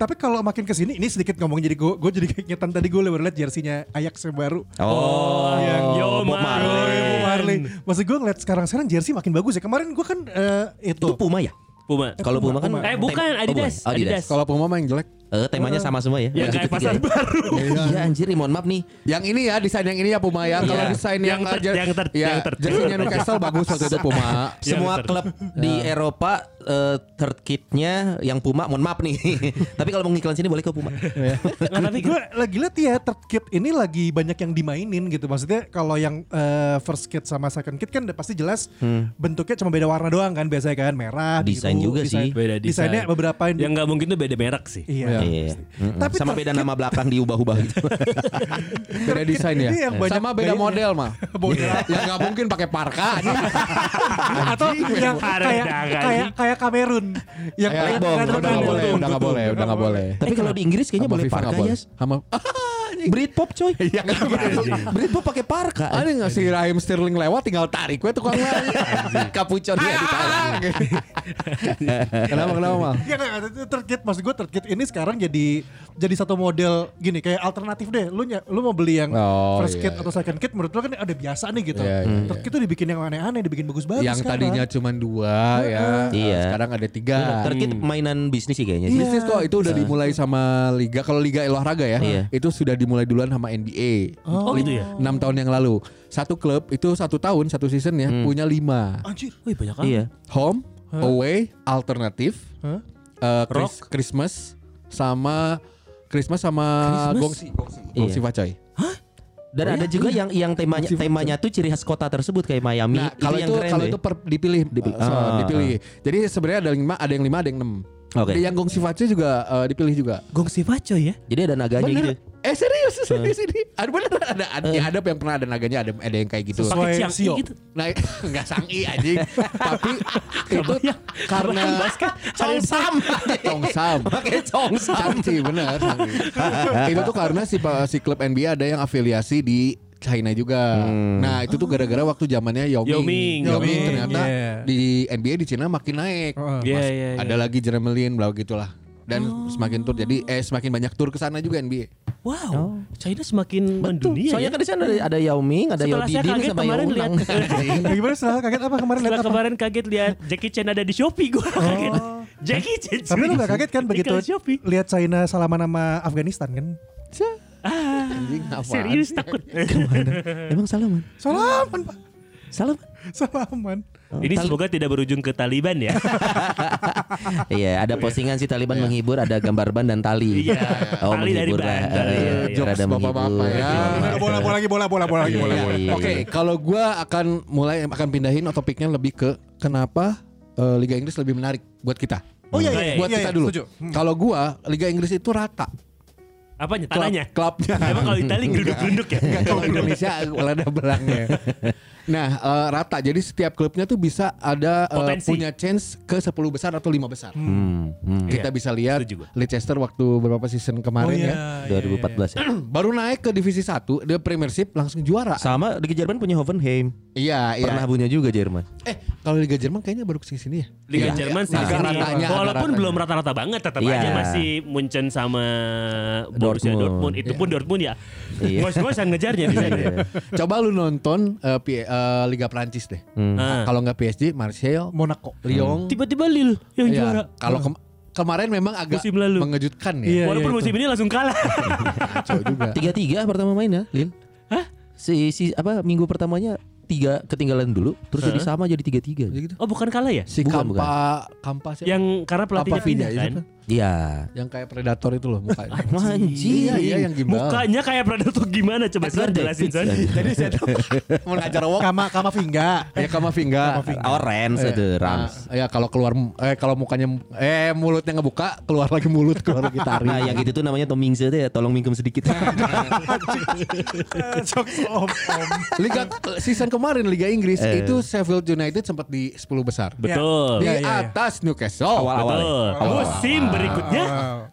Speaker 3: Tapi kalau makin ke sini ini sedikit ngomong jadi gue gue jadi keingetan tadi gue baru lihat jersinya Ajax yang baru.
Speaker 5: Oh,
Speaker 2: yang Yo
Speaker 5: Bob
Speaker 2: Marley.
Speaker 5: Marley.
Speaker 3: Bob Marley. Maksud gue ngeliat sekarang sekarang jersey makin bagus ya. Kemarin gue kan eh, itu
Speaker 5: Itu Puma ya?
Speaker 2: Puma.
Speaker 5: Kalau Puma kan
Speaker 2: Eh, bukan,
Speaker 5: tem- oh,
Speaker 2: Adidas.
Speaker 5: bukan. Adidas.
Speaker 2: Adidas.
Speaker 6: Kalau pemain yang jelek.
Speaker 5: Eh, temanya sama semua ya.
Speaker 2: Yang kayak pasar baru.
Speaker 5: Iya anjir, mohon maaf nih.
Speaker 6: Yang ini ya desain yang ini ya Puma ya. Kalau
Speaker 5: Iya.
Speaker 6: desain
Speaker 2: Yang ter-
Speaker 6: yang
Speaker 2: yang ter-
Speaker 6: ya,
Speaker 2: yang ter-
Speaker 6: jersinya Newcastle bagus waktu itu Puma.
Speaker 2: Iya,
Speaker 5: Semua
Speaker 2: betul.
Speaker 5: klub di Eropa eh, third kitnya yang Puma, mohon maaf nih. Tapi kalau mau ngiklan sini boleh ke Puma.
Speaker 2: Nggak, tapi
Speaker 3: gue lagi lihat ya third kit ini lagi banyak yang dimainin gitu maksudnya kalau yang eh, first kit sama second kit kan udah pasti jelas
Speaker 6: Hmm.
Speaker 3: bentuknya cuma beda warna doang kan biasanya kan merah
Speaker 5: Desain
Speaker 3: biru,
Speaker 5: juga
Speaker 3: desain-
Speaker 5: sih.
Speaker 2: beda desain.
Speaker 3: desainnya beberapa yang,
Speaker 2: yang nggak mungkin tuh beda merek sih.
Speaker 3: iya
Speaker 5: Iya.
Speaker 3: Tapi
Speaker 5: Tapi sama
Speaker 3: third
Speaker 5: beda
Speaker 3: kit-
Speaker 5: nama belakang diubah-ubah gitu.
Speaker 6: Beda desain ya.
Speaker 3: Ini yang banyak
Speaker 6: Sama beda
Speaker 3: gayanya.
Speaker 6: model mah.
Speaker 3: Model.
Speaker 6: Ya nggak mungkin pakai parka aja.
Speaker 3: atau yang
Speaker 2: Ada
Speaker 3: kayak
Speaker 2: dagang.
Speaker 3: kayak kayak Kamerun yang
Speaker 6: Ya,
Speaker 3: kayak
Speaker 5: bom,
Speaker 3: kanan
Speaker 6: udah nggak
Speaker 3: kanan.
Speaker 6: boleh, udah nggak boleh, udah nggak boleh.
Speaker 5: Tapi kalau di Inggris kayaknya
Speaker 6: Sama
Speaker 5: boleh
Speaker 6: FIFA
Speaker 5: parka
Speaker 6: nggak boleh.
Speaker 5: ya.
Speaker 6: Sama
Speaker 5: Britpop coy.
Speaker 6: Iya
Speaker 3: Ya,
Speaker 6: nggak boleh.
Speaker 5: Britpop pakai parka.
Speaker 6: Ada nggak sih Rahim Sterling lewat tinggal tarik gue tukang Iya,
Speaker 5: Kapuconnya ditarik.
Speaker 6: Ah, Kenapa kenapa mal?
Speaker 3: Ya kan third kit maksud gue third kit ini sekarang jadi jadi satu model gini kayak alternatif deh. Lu ny- lu mau beli yang
Speaker 6: Oh,
Speaker 3: first
Speaker 6: iya,
Speaker 3: kit atau second kit menurut lu kan ada biasa nih gitu.
Speaker 6: Iya, iya,
Speaker 3: third kit tuh dibikin yang aneh-aneh, dibikin bagus-bagus kan,
Speaker 6: Yang
Speaker 3: sekarang.
Speaker 6: tadinya cuma dua ya,
Speaker 5: Iya.
Speaker 6: sekarang ada tiga.
Speaker 5: Third kit mainan bisnis sih
Speaker 6: Iya.
Speaker 5: kayaknya. sih.
Speaker 6: Bisnis kok itu udah dimulai sama liga. Kalau liga olahraga ya,
Speaker 5: Iya.
Speaker 6: itu sudah dimulai duluan sama NBA.
Speaker 2: Oh, gitu ya?
Speaker 6: 6 tahun yang lalu. Satu klub itu satu tahun satu season ya
Speaker 5: Hmm.
Speaker 6: punya lima.
Speaker 3: anjir.
Speaker 2: Wih banyak kan?
Speaker 5: Iya.
Speaker 6: Home, away, alternatif,
Speaker 3: Hah?
Speaker 6: eh, Chris- Christmas sama Christmas sama Gongsi, Gongsi, Gongsi
Speaker 5: Iya.
Speaker 6: Facoy.
Speaker 5: Dan ada juga yang yang temanya
Speaker 6: Masih
Speaker 5: temanya tuh ciri khas kota tersebut kayak Miami.
Speaker 6: Nah, kalau
Speaker 5: yang
Speaker 6: itu,
Speaker 5: keren
Speaker 6: kalau
Speaker 5: tuh
Speaker 6: itu
Speaker 5: ya.
Speaker 6: per- dipilih, dipilih.
Speaker 5: Ah, ah,
Speaker 6: dipilih. Jadi sebenarnya ada lima, ada yang lima, ada yang enam.
Speaker 5: Oke.
Speaker 6: Ada yang Gongsi Facoy juga eh, dipilih juga.
Speaker 2: Gong Sivaco ya?
Speaker 5: Jadi ada naganya gitu.
Speaker 6: Bener. Eh serius di sini. Ada bener ada ada, ya, ada yang pernah ada naganya ada ada yang kayak gitu.
Speaker 3: Sesuai
Speaker 2: Pakai siang
Speaker 3: Sio.
Speaker 2: gitu.
Speaker 6: Nah, enggak sangi anjing. Tapi itu
Speaker 2: Kebayang.
Speaker 6: karena
Speaker 2: Kebayang basket.
Speaker 5: Congsam.
Speaker 6: tongsam.
Speaker 5: Pakai congsam.
Speaker 6: Cangci bener. sangi. itu tuh karena si pa- si klub NBA ada yang afiliasi di China juga. Nah, itu tuh gara-gara waktu zamannya Yao Ming.
Speaker 2: Yao Ming.
Speaker 6: Yao Ming
Speaker 3: Yao Ming,
Speaker 6: ternyata
Speaker 3: iya.
Speaker 6: di NBA di Cina makin naik.
Speaker 3: Heeh.
Speaker 2: Iya,
Speaker 6: Mas-
Speaker 2: iya,
Speaker 6: Ada
Speaker 2: iya.
Speaker 6: lagi Jermelin bla gitulah. Dan semakin tur jadi eh semakin banyak tur ke sana juga NBA.
Speaker 2: Wow, China semakin mendunia
Speaker 5: Soalnya
Speaker 2: ya.
Speaker 5: kan di sana ada, ada Yao Ming, ada Yao
Speaker 2: Setelah saya
Speaker 5: Didin
Speaker 2: kaget
Speaker 5: sama Yao
Speaker 2: kemarin
Speaker 5: Unang.
Speaker 2: lihat
Speaker 3: Ya, gimana setelah kaget apa kemarin lihat
Speaker 2: Setelah
Speaker 3: apa?
Speaker 2: kemarin kaget lihat Jackie Chan ada di Shopee gue kaget. Jackie Chan.
Speaker 3: Tapi lu gak kaget kan
Speaker 2: Di
Speaker 3: begitu
Speaker 2: kelas Shopee.
Speaker 3: lihat China salaman sama Afghanistan kan?
Speaker 6: Anjing apaan?
Speaker 2: Ah, Serius takut.
Speaker 5: Emang Salaman?
Speaker 3: Salaman pak,
Speaker 5: Salaman?
Speaker 3: salaman.
Speaker 2: Ini semoga tidak berujung ke Taliban ya.
Speaker 5: Iya, ada postingan si Taliban menghibur, ada gambar ban dan tali.
Speaker 2: Iya,
Speaker 5: oh,
Speaker 2: tali dari
Speaker 5: menghibur lah.
Speaker 2: ban, tali.
Speaker 5: Iya,
Speaker 2: Iya,
Speaker 6: jokes
Speaker 5: rada
Speaker 6: bapak-bapak
Speaker 5: menghibur.
Speaker 6: ya.
Speaker 3: Bola, bola, bola lagi, bola, bola, bola lagi, bola.
Speaker 5: Iya, iya,
Speaker 6: Oke, kalau gua akan mulai akan pindahin topiknya lebih ke kenapa eh, Liga Inggris lebih menarik buat kita.
Speaker 3: Oh iya,
Speaker 2: iya,
Speaker 6: buat
Speaker 3: iya,
Speaker 6: kita
Speaker 3: iya,
Speaker 6: dulu.
Speaker 3: setuju. Hmm.
Speaker 6: Kalau gua Liga Inggris itu rata.
Speaker 2: Apanya?
Speaker 6: Klub-
Speaker 2: Tanahnya.
Speaker 6: Klubnya.
Speaker 2: Emang kalau Italia gerunduk-gerunduk ya.
Speaker 6: Enggak, kalau Indonesia ada belangnya. Nah, eh, rata. Jadi setiap klubnya tuh bisa ada eh,
Speaker 2: Potensi.
Speaker 6: punya chance ke 10 besar atau 5 besar.
Speaker 5: Hmm, hmm.
Speaker 2: Iya,
Speaker 6: Kita bisa lihat
Speaker 2: Setuju gua. Oh, iya.
Speaker 6: Leicester waktu beberapa season
Speaker 3: Oh,
Speaker 6: kemarin
Speaker 3: iya,
Speaker 6: ya.
Speaker 5: 2014 ya.
Speaker 6: Baru naik ke divisi 1, dia Premiership langsung juara.
Speaker 5: Sama di Jerman punya Hoffenheim.
Speaker 6: Iya, iya.
Speaker 5: Pernah punya juga Jerman.
Speaker 6: Eh, kalau Liga Jerman kayaknya baru kesini sini ya.
Speaker 2: Liga
Speaker 6: Iya.
Speaker 2: Jerman sih
Speaker 6: Agak
Speaker 2: sini.
Speaker 6: ratanya, agak
Speaker 2: Walaupun
Speaker 6: ratanya.
Speaker 2: belum rata-rata banget tetap
Speaker 5: Iya.
Speaker 2: aja masih Munchen sama Borussia
Speaker 5: Dortmund.
Speaker 2: Dortmund. Itu pun Dortmund ya.
Speaker 5: Iya.
Speaker 2: Ngos-ngosan ngejarnya di sana.
Speaker 6: Coba lu nonton eh, P- eh, Liga Prancis deh. Nah,
Speaker 2: Ah.
Speaker 6: Kalau nggak PSG, Marseille,
Speaker 3: Monaco.
Speaker 6: Lyon.
Speaker 2: Tiba-tiba Lille yang
Speaker 6: Iya.
Speaker 2: juara. Ah.
Speaker 6: Kalau kem- kemarin memang agak
Speaker 2: Musim lalu.
Speaker 6: mengejutkan ya.
Speaker 3: Iya.
Speaker 2: Walaupun
Speaker 3: itu.
Speaker 2: musim ini langsung kalah.
Speaker 6: Kacau juga.
Speaker 5: Tiga tiga pertama main ya, Lil.
Speaker 2: Hah?
Speaker 5: Si, si apa minggu pertamanya tiga ketinggalan dulu, terus jadi sama jadi tiga tiga.
Speaker 6: Jadi gitu.
Speaker 2: Oh bukan kalah ya?
Speaker 6: Si
Speaker 5: Bukan,
Speaker 6: Kampa, Kampa siapa?
Speaker 2: Yang karena pelatihnya
Speaker 6: Apa Vida
Speaker 2: pindah
Speaker 6: ya,
Speaker 2: kan?
Speaker 6: siapa?
Speaker 5: Iya.
Speaker 6: Yang kayak predator itu loh mukanya.
Speaker 5: Anjing.
Speaker 6: Iya, iya yang gimbal.
Speaker 2: Mukanya kayak predator gimana coba Son jelasin Son.
Speaker 6: Jadi saya tuh mau ngajar wok.
Speaker 3: Kama, kama Vinga.
Speaker 6: Ya Kamavinga.
Speaker 5: Orange ada Rams.
Speaker 6: Nah, ya kalau keluar eh kalau mukanya eh mulutnya ngebuka, keluar lagi mulut, keluar lagi taring.
Speaker 5: Nah, yang gitu tuh namanya Toming tuh ya, tolong mingkem sedikit.
Speaker 3: Jokes om, om.
Speaker 6: Liga season kemarin Liga Inggris itu Sheffield United sempat di 10 besar.
Speaker 2: Betul.
Speaker 6: Di
Speaker 3: Iya, iya, iya.
Speaker 6: atas Newcastle.
Speaker 5: Awal-awal.
Speaker 2: Betul. Musim berikutnya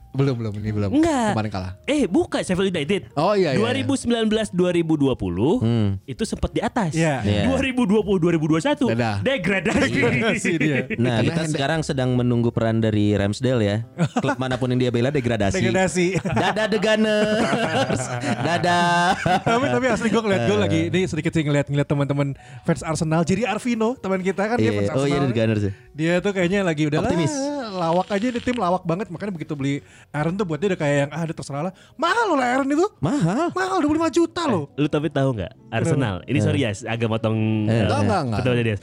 Speaker 6: Belum belum ini belum.
Speaker 2: enggak.
Speaker 6: Kemarin kalah.
Speaker 2: Eh, bukan Sheffield United.
Speaker 6: Oh, iya, Hmm. iya, iya.
Speaker 2: 2019 2020 itu sempat di atas.
Speaker 3: Iya.
Speaker 5: Iya.
Speaker 2: 2020 2021
Speaker 6: Dadah.
Speaker 2: degradasi.
Speaker 3: Degradasi Iya, dia.
Speaker 5: Nah, kita
Speaker 6: Karena Hende-
Speaker 5: sekarang sedang menunggu peran dari Ramsdale ya. Klub manapun yang dia bela degradasi.
Speaker 3: degradasi.
Speaker 5: Dadah The Gunners. Dadah.
Speaker 3: tapi tapi asli gue ngeliat gue lagi ini sedikit sih ngeliat ngeliat teman-teman fans Arsenal jadi Arvino teman kita kan
Speaker 5: Iya,
Speaker 3: dia fans
Speaker 5: oh iya,
Speaker 3: Arsenal
Speaker 5: The Gunners ya.
Speaker 3: dia tuh kayaknya lagi udah
Speaker 5: Optimis.
Speaker 3: lawak aja di tim lawak banget makanya begitu beli Aaron tuh buat dia udah kayak yang ah udah terserah lah mahal loh lah Aaron itu
Speaker 5: Mahal.
Speaker 3: mahal 25 juta loh
Speaker 2: Lu tapi tahu nggak Arsenal? Ini sorry ya, agak motong.
Speaker 5: Eh.
Speaker 2: eh,
Speaker 6: Enggak, enggak, enggak.
Speaker 2: ketua dia.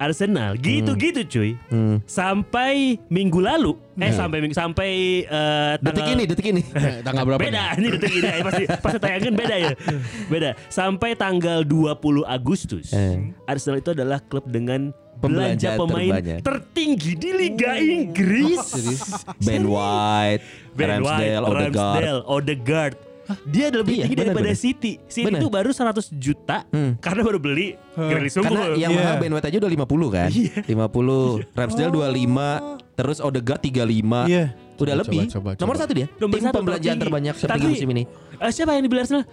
Speaker 2: Arsenal
Speaker 6: Hmm.
Speaker 2: gitu-gitu cuy. Sampai minggu lalu, eh
Speaker 6: Hmm.
Speaker 2: sampai minggu sampai eh,
Speaker 5: Detik
Speaker 2: tanggal-
Speaker 5: ini, detik ini.
Speaker 6: Eh, tanggal berapa?
Speaker 2: beda
Speaker 6: nih?
Speaker 2: ini detik ini pasti pasti tayangin beda ya beda sampai tanggal 20 Agustus
Speaker 5: Eh.
Speaker 2: Arsenal itu adalah klub dengan
Speaker 5: Pembelanja
Speaker 2: belanja pemain
Speaker 5: terbanyak.
Speaker 2: tertinggi di Liga Inggris
Speaker 5: Ben White,
Speaker 2: Ben White,
Speaker 5: Ramsdale, Odegaard.
Speaker 2: Ramsdale, Odegaard. Dia ada lebih
Speaker 5: Iya,
Speaker 2: tinggi
Speaker 5: benar,
Speaker 2: daripada
Speaker 5: benar.
Speaker 2: City. City
Speaker 5: Benar. Hmm.
Speaker 2: itu baru 100 juta karena baru beli Grealish
Speaker 5: Karena
Speaker 2: unggul.
Speaker 5: yang
Speaker 3: Iya.
Speaker 5: mahal Ben White aja udah 50 kan? 50, Ramsdale 25, terus Odegaard 35.
Speaker 3: Iya.
Speaker 5: Udah
Speaker 6: Coba,
Speaker 5: lebih.
Speaker 6: coba, coba.
Speaker 5: Nomor satu dia.
Speaker 2: Nomor
Speaker 5: Tim
Speaker 2: satu
Speaker 5: pembelanjaan
Speaker 2: tertinggi.
Speaker 5: terbanyak sepanjang
Speaker 2: Tapi-
Speaker 5: musim ini.
Speaker 2: Eh, siapa yang dibeli Arsenal?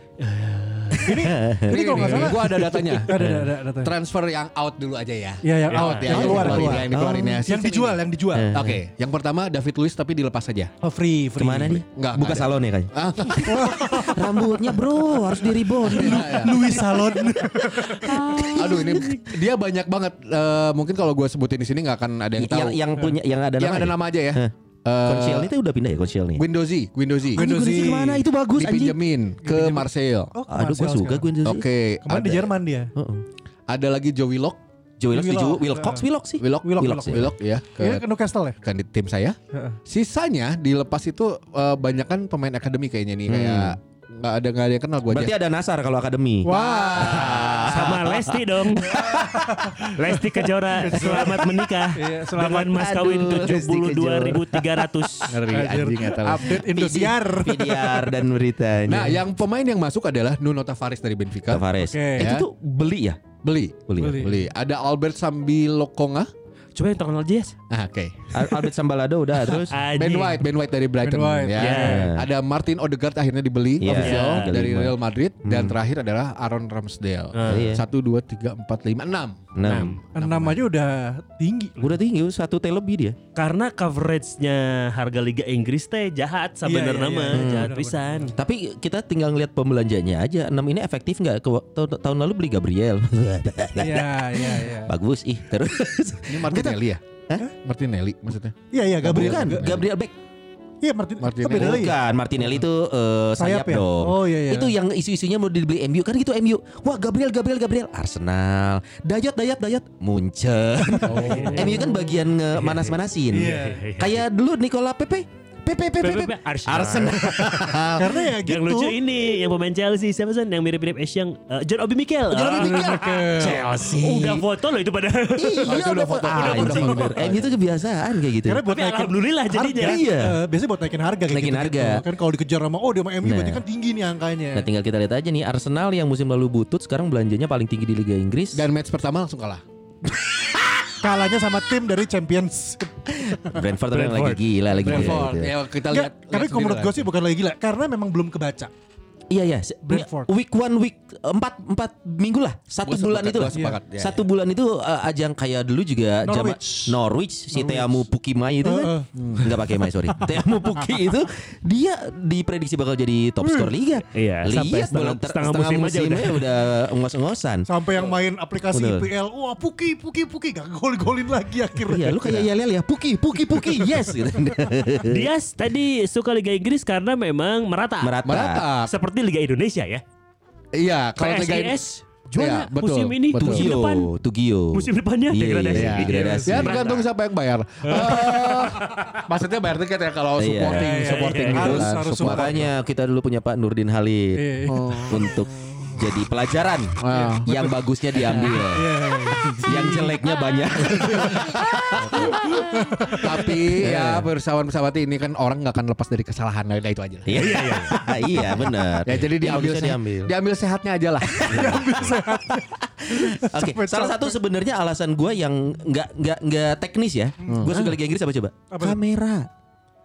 Speaker 3: ini
Speaker 5: Eh,
Speaker 3: ini kalau nggak
Speaker 6: Ini,
Speaker 3: salah
Speaker 6: gua ada datanya.
Speaker 3: ada ada ada, ada.
Speaker 6: Transfer yang out dulu aja ya.
Speaker 3: Iya, yang out,
Speaker 6: ya.
Speaker 3: yang keluar,
Speaker 6: dikeluarin,
Speaker 3: keluar. Oh.
Speaker 6: Yang dikeluarin ya.
Speaker 3: yang
Speaker 6: Season
Speaker 3: dijual
Speaker 6: ini.
Speaker 3: yang dijual Iya.
Speaker 6: Oke, yang pertama David Luiz tapi dilepas aja.
Speaker 3: oh free free
Speaker 5: Kemana nih?
Speaker 6: Nggak,
Speaker 5: Buka
Speaker 6: nggak ada.
Speaker 5: salon ya kayaknya.
Speaker 6: Ah,
Speaker 5: Rambutnya bro harus di
Speaker 6: iya, iya.
Speaker 3: Louis Salon
Speaker 6: Aduh ini dia banyak banget. Eh, mungkin kalau gue sebutin di sini nggak akan ada yang tahu.
Speaker 5: yang, yang punya yang ada
Speaker 6: Yang
Speaker 5: nama.
Speaker 6: ada nama aja ya.
Speaker 5: Konsial itu udah pindah ya Konsial nih.
Speaker 6: Guendouzi, Guendouzi.
Speaker 3: Guendouzi.
Speaker 5: Guendouzi kemana? Itu bagus anjing.
Speaker 6: Dipinjemin ke Marseille.
Speaker 3: Oh, ke
Speaker 5: Aduh gue
Speaker 3: Marcel
Speaker 5: suka
Speaker 3: sekarang.
Speaker 5: Guendouzi.
Speaker 6: Oke,
Speaker 3: kemarin di
Speaker 6: ada-
Speaker 3: Jerman dia
Speaker 5: Heeh.
Speaker 6: ada lagi Joe Willock.
Speaker 5: Joe Willock setuju.
Speaker 3: Willock.
Speaker 5: Wilcox Willock sih.
Speaker 6: Willock,
Speaker 3: Willock,
Speaker 6: Willock,
Speaker 5: Willock.
Speaker 6: Willock ya
Speaker 3: ini
Speaker 6: ke
Speaker 3: ke Newcastle ya
Speaker 6: kan di tim saya.
Speaker 3: Heeh.
Speaker 6: Sisanya dilepas itu eh, banyak kan pemain akademi kayaknya nih kayak nggak ada nggak ada yang kenal gue aja.
Speaker 5: Berarti ada Nasar kalau akademi.
Speaker 3: wah
Speaker 2: Sama Lesti dong. Lesti Kejora selamat menikah
Speaker 3: Iya, selamat.
Speaker 2: dengan mas kawin
Speaker 5: Aduh, Lesti
Speaker 2: 72.300.
Speaker 6: Ngeri anjing eta.
Speaker 3: update Indosiar
Speaker 5: VDR VDR dan beritanya.
Speaker 6: Nah, yang pemain yang masuk adalah Nuno Tavares dari Benfica.
Speaker 5: Tavares.
Speaker 3: Oke,
Speaker 5: Eh,
Speaker 6: ya.
Speaker 5: Itu tuh beli ya?
Speaker 6: Beli.
Speaker 5: Beli.
Speaker 3: Beli.
Speaker 6: Beli. Ada Albert Sambilokonga
Speaker 2: Coba yang terkenal Jazz.
Speaker 6: Ah, Oke.
Speaker 5: Al- Albert Sambalado udah terus
Speaker 6: Ben White, Ben White dari Brighton.
Speaker 3: Ben White,
Speaker 6: Ya.
Speaker 2: ya.
Speaker 6: Ada Martin Odegaard akhirnya dibeli
Speaker 5: Iya,
Speaker 6: official
Speaker 2: iya.
Speaker 6: dari
Speaker 5: Lima.
Speaker 6: Real Madrid dan terakhir adalah Aaron Ramsdale.
Speaker 5: iya.
Speaker 6: Satu dua tiga empat lima enam.
Speaker 2: Nah,
Speaker 5: 6
Speaker 3: Enam aja udah tinggi.
Speaker 5: Udah tinggi satu T lebih dia
Speaker 2: Karena coveragenya harga Liga Inggris teh jahat
Speaker 3: Iya, iya,
Speaker 2: sebenarnya nama
Speaker 3: iya. Hmm.
Speaker 2: jahat
Speaker 3: Bener,
Speaker 2: pisan.
Speaker 5: Tapi kita tinggal ngeliat pembelanjanya aja 6 ini efektif nggak? Ke- ta- Tahun lalu beli Gabriel
Speaker 3: Iya, iya, iya.
Speaker 5: Bagus ih terus
Speaker 6: Ini Martinelli ya? Martinelli maksudnya.
Speaker 3: Iya, iya, Gabriel
Speaker 5: Bukan,
Speaker 3: juga.
Speaker 5: Gabriel Beck
Speaker 3: Iya, Martin.
Speaker 6: Martin
Speaker 3: Martin. Beda lagi. ya?
Speaker 5: Bukan Martinelli itu eh, sayap,
Speaker 3: Sayap ya?
Speaker 5: dong
Speaker 3: Oh, iya, iya.
Speaker 5: Itu yang isu-isunya mau dibeli MU Kan gitu MU Wah Gabriel Gabriel Gabriel Arsenal Dayot Dayot Dayot Munchen MU kan bagian nge-manas-manasin
Speaker 3: Iya.
Speaker 5: Kayak dulu Nicola Pepe Pepe Pepe Pepe,
Speaker 2: PPP Arsenal.
Speaker 5: Arsenal
Speaker 3: Karena ya gitu.
Speaker 2: Yang lucu iya. ini yang pemain Chelsea siapa sih yang mirip-mirip Ash yang eh, John Obi Mikel.
Speaker 5: John
Speaker 2: Ah, Oh,
Speaker 5: Obi Mikel Chelsea
Speaker 2: Udah foto loh Oh, itu pada.
Speaker 5: Iya
Speaker 6: itu udah
Speaker 5: udah
Speaker 6: foto,
Speaker 5: foto
Speaker 6: udah foto.
Speaker 5: MU itu kebiasaan kayak gitu
Speaker 3: Karena buat
Speaker 2: Tapi
Speaker 3: naikin
Speaker 2: alhamdulillah jadinya.
Speaker 5: Harga. Iya.
Speaker 3: eh, biasanya buat naikin harga kayak
Speaker 5: Naikin
Speaker 3: gitu-gitu.
Speaker 5: harga.
Speaker 3: Kan kalau dikejar sama oh dia sama MU berarti
Speaker 5: Nah.
Speaker 3: kan tinggi nih angkanya.
Speaker 5: Nah tinggal kita lihat aja nih Arsenal yang musim lalu butut sekarang belanjanya paling tinggi di Liga Inggris.
Speaker 6: Dan match pertama langsung kalah.
Speaker 3: Kalahnya sama tim dari Champions.
Speaker 5: Brentford, tapi lagi gila lagi gila
Speaker 6: Brentford.
Speaker 5: gitu.
Speaker 6: Ya kita
Speaker 3: Enggak,
Speaker 6: lihat.
Speaker 3: tapi
Speaker 6: lihat
Speaker 3: kalau menurut
Speaker 6: sendiri
Speaker 3: gue
Speaker 6: lah.
Speaker 3: sih bukan lagi gila karena memang belum kebaca.
Speaker 5: Iya iya. se-
Speaker 3: Brentford.
Speaker 5: Week one week eh, empat empat minggu lah satu
Speaker 6: Gua
Speaker 5: bulan
Speaker 6: sepakat,
Speaker 5: itu lah.
Speaker 6: gua sepakat,
Speaker 2: Iya,
Speaker 6: ya,
Speaker 5: satu bulan itu eh, ajang kayak dulu juga zaman-
Speaker 3: Norwich.
Speaker 5: Norwich si Teamu Pukimai itu
Speaker 3: Heeh.
Speaker 5: kan nggak pakai Mai sorry Teamu Puki itu dia diprediksi bakal jadi top skor liga.
Speaker 2: Iya,
Speaker 5: Lihat
Speaker 2: sampai setengah-
Speaker 5: bulan ter-
Speaker 2: setengah musim aja
Speaker 5: musimnya udah ngos-ngosan.
Speaker 3: Sampai yang main aplikasi
Speaker 5: Betul.
Speaker 3: IPL, wah puki puki puki gak gol-golin lagi
Speaker 5: Iya
Speaker 3: akhirnya.
Speaker 5: lu kayak yel-yel ya Puki Puki Puki yes gitu.
Speaker 2: Dias tadi suka Liga Inggris karena memang merata.
Speaker 5: Merata.
Speaker 6: Merata.
Speaker 2: Seperti Liga Indonesia ya.
Speaker 6: Iya, kalau Liga-
Speaker 2: PSIS juara
Speaker 6: Iya, betul,
Speaker 2: musim ini
Speaker 6: betul. Iya.
Speaker 2: musim depan.
Speaker 5: Tugio, Tugio.
Speaker 2: Musim depannya
Speaker 5: Iya,
Speaker 2: degradasi.
Speaker 5: iya, degradasi.
Speaker 6: Ya tergantung siapa yang bayar. Eh, maksudnya bayar tiket ya kalau
Speaker 5: Iya.
Speaker 6: supporting,
Speaker 2: Iya,
Speaker 6: supporting
Speaker 2: iya,
Speaker 6: gitu
Speaker 3: harus-
Speaker 6: kan,
Speaker 3: harus
Speaker 6: support.
Speaker 5: Makanya kita dulu punya Pak Nurdin
Speaker 3: Iya,
Speaker 5: Halid
Speaker 3: iya.
Speaker 5: untuk jadi pelajaran
Speaker 6: Ah.
Speaker 5: yang bagusnya diambil,
Speaker 3: Iya,
Speaker 5: yang jeleknya banyak.
Speaker 6: Tapi ya persawan-persawati ini kan orang nggak akan lepas dari kesalahan. Nah, itu aja lah.
Speaker 5: Iya, iya, iya benar.
Speaker 6: Ya jadi diambil,
Speaker 5: Bagusnya
Speaker 6: sehat-
Speaker 5: diambil.
Speaker 6: diambil sehatnya aja lah.
Speaker 5: Oke, salah satu sebenarnya alasan gua yang nggak nggak nggak teknis ya. Gua suka Liga Inggris apa coba? Kamera.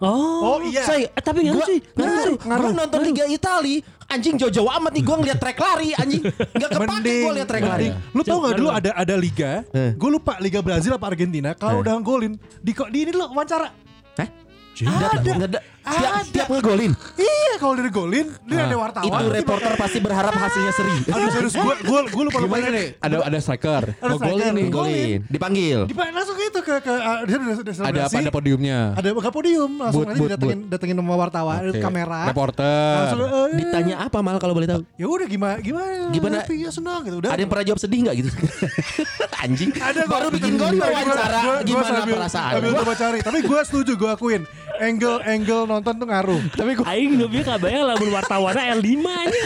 Speaker 2: Oh,
Speaker 3: Oh, iya.
Speaker 5: Say,
Speaker 2: Eh, tapi ngaruh
Speaker 5: gua,
Speaker 2: sih, ngaruh
Speaker 5: ngaruh,
Speaker 2: sih.
Speaker 5: Gua nonton Liga Itali, anjing jauh-jauh amat nih gua ngeliat trek lari anjing. Nggak kepake
Speaker 3: Mending,
Speaker 5: gua liat trek lari.
Speaker 3: mending. Eh. Lu tau gak
Speaker 2: Coba
Speaker 3: dulu
Speaker 2: lu.
Speaker 3: ada ada liga, gue lupa liga Brazil apa Argentina. Kalau udah golin di di ini dulu wawancara.
Speaker 5: Hah? Ada, ada, tiap, tiap ngegolin.
Speaker 3: Iya kalau udah golin, dia ada wartawan. Ah,
Speaker 5: Itu
Speaker 3: tiba-
Speaker 5: reporter pasti berharap hasilnya seri.
Speaker 3: Aduh Ah. serius gue gue gue lupa lupa
Speaker 6: Gimana nih? Ada ada striker,
Speaker 3: Ada
Speaker 6: mau golin
Speaker 3: striker.
Speaker 6: nih.
Speaker 5: Golin, dipanggil.
Speaker 3: Di langsung itu ke ke ah, dia udah udah
Speaker 6: Ada
Speaker 3: selebrasi.
Speaker 6: pada podiumnya.
Speaker 3: Ada ke podium langsung
Speaker 6: Booth,
Speaker 3: nanti
Speaker 6: booth,
Speaker 3: datengin datengin sama wartawan,
Speaker 6: Oke.
Speaker 3: kamera.
Speaker 6: Reporter.
Speaker 3: Langsung eh,
Speaker 5: Ditanya apa mal kalau boleh tahu?
Speaker 3: ya udah gimana gimana
Speaker 5: Gimana?
Speaker 3: Tapi ya senang gitu udah.
Speaker 5: Ada yang pernah jawab sedih nggak gitu? Anjing.
Speaker 3: ada
Speaker 5: Baru bikin gol wawancara gimana perasaan?
Speaker 3: Sambil coba cari, tapi gue setuju gue akuin angle angle nonton tuh ngaruh.
Speaker 6: Tapi gue
Speaker 2: Aing nu bieu kabayang lamun wartawanna L5 nya.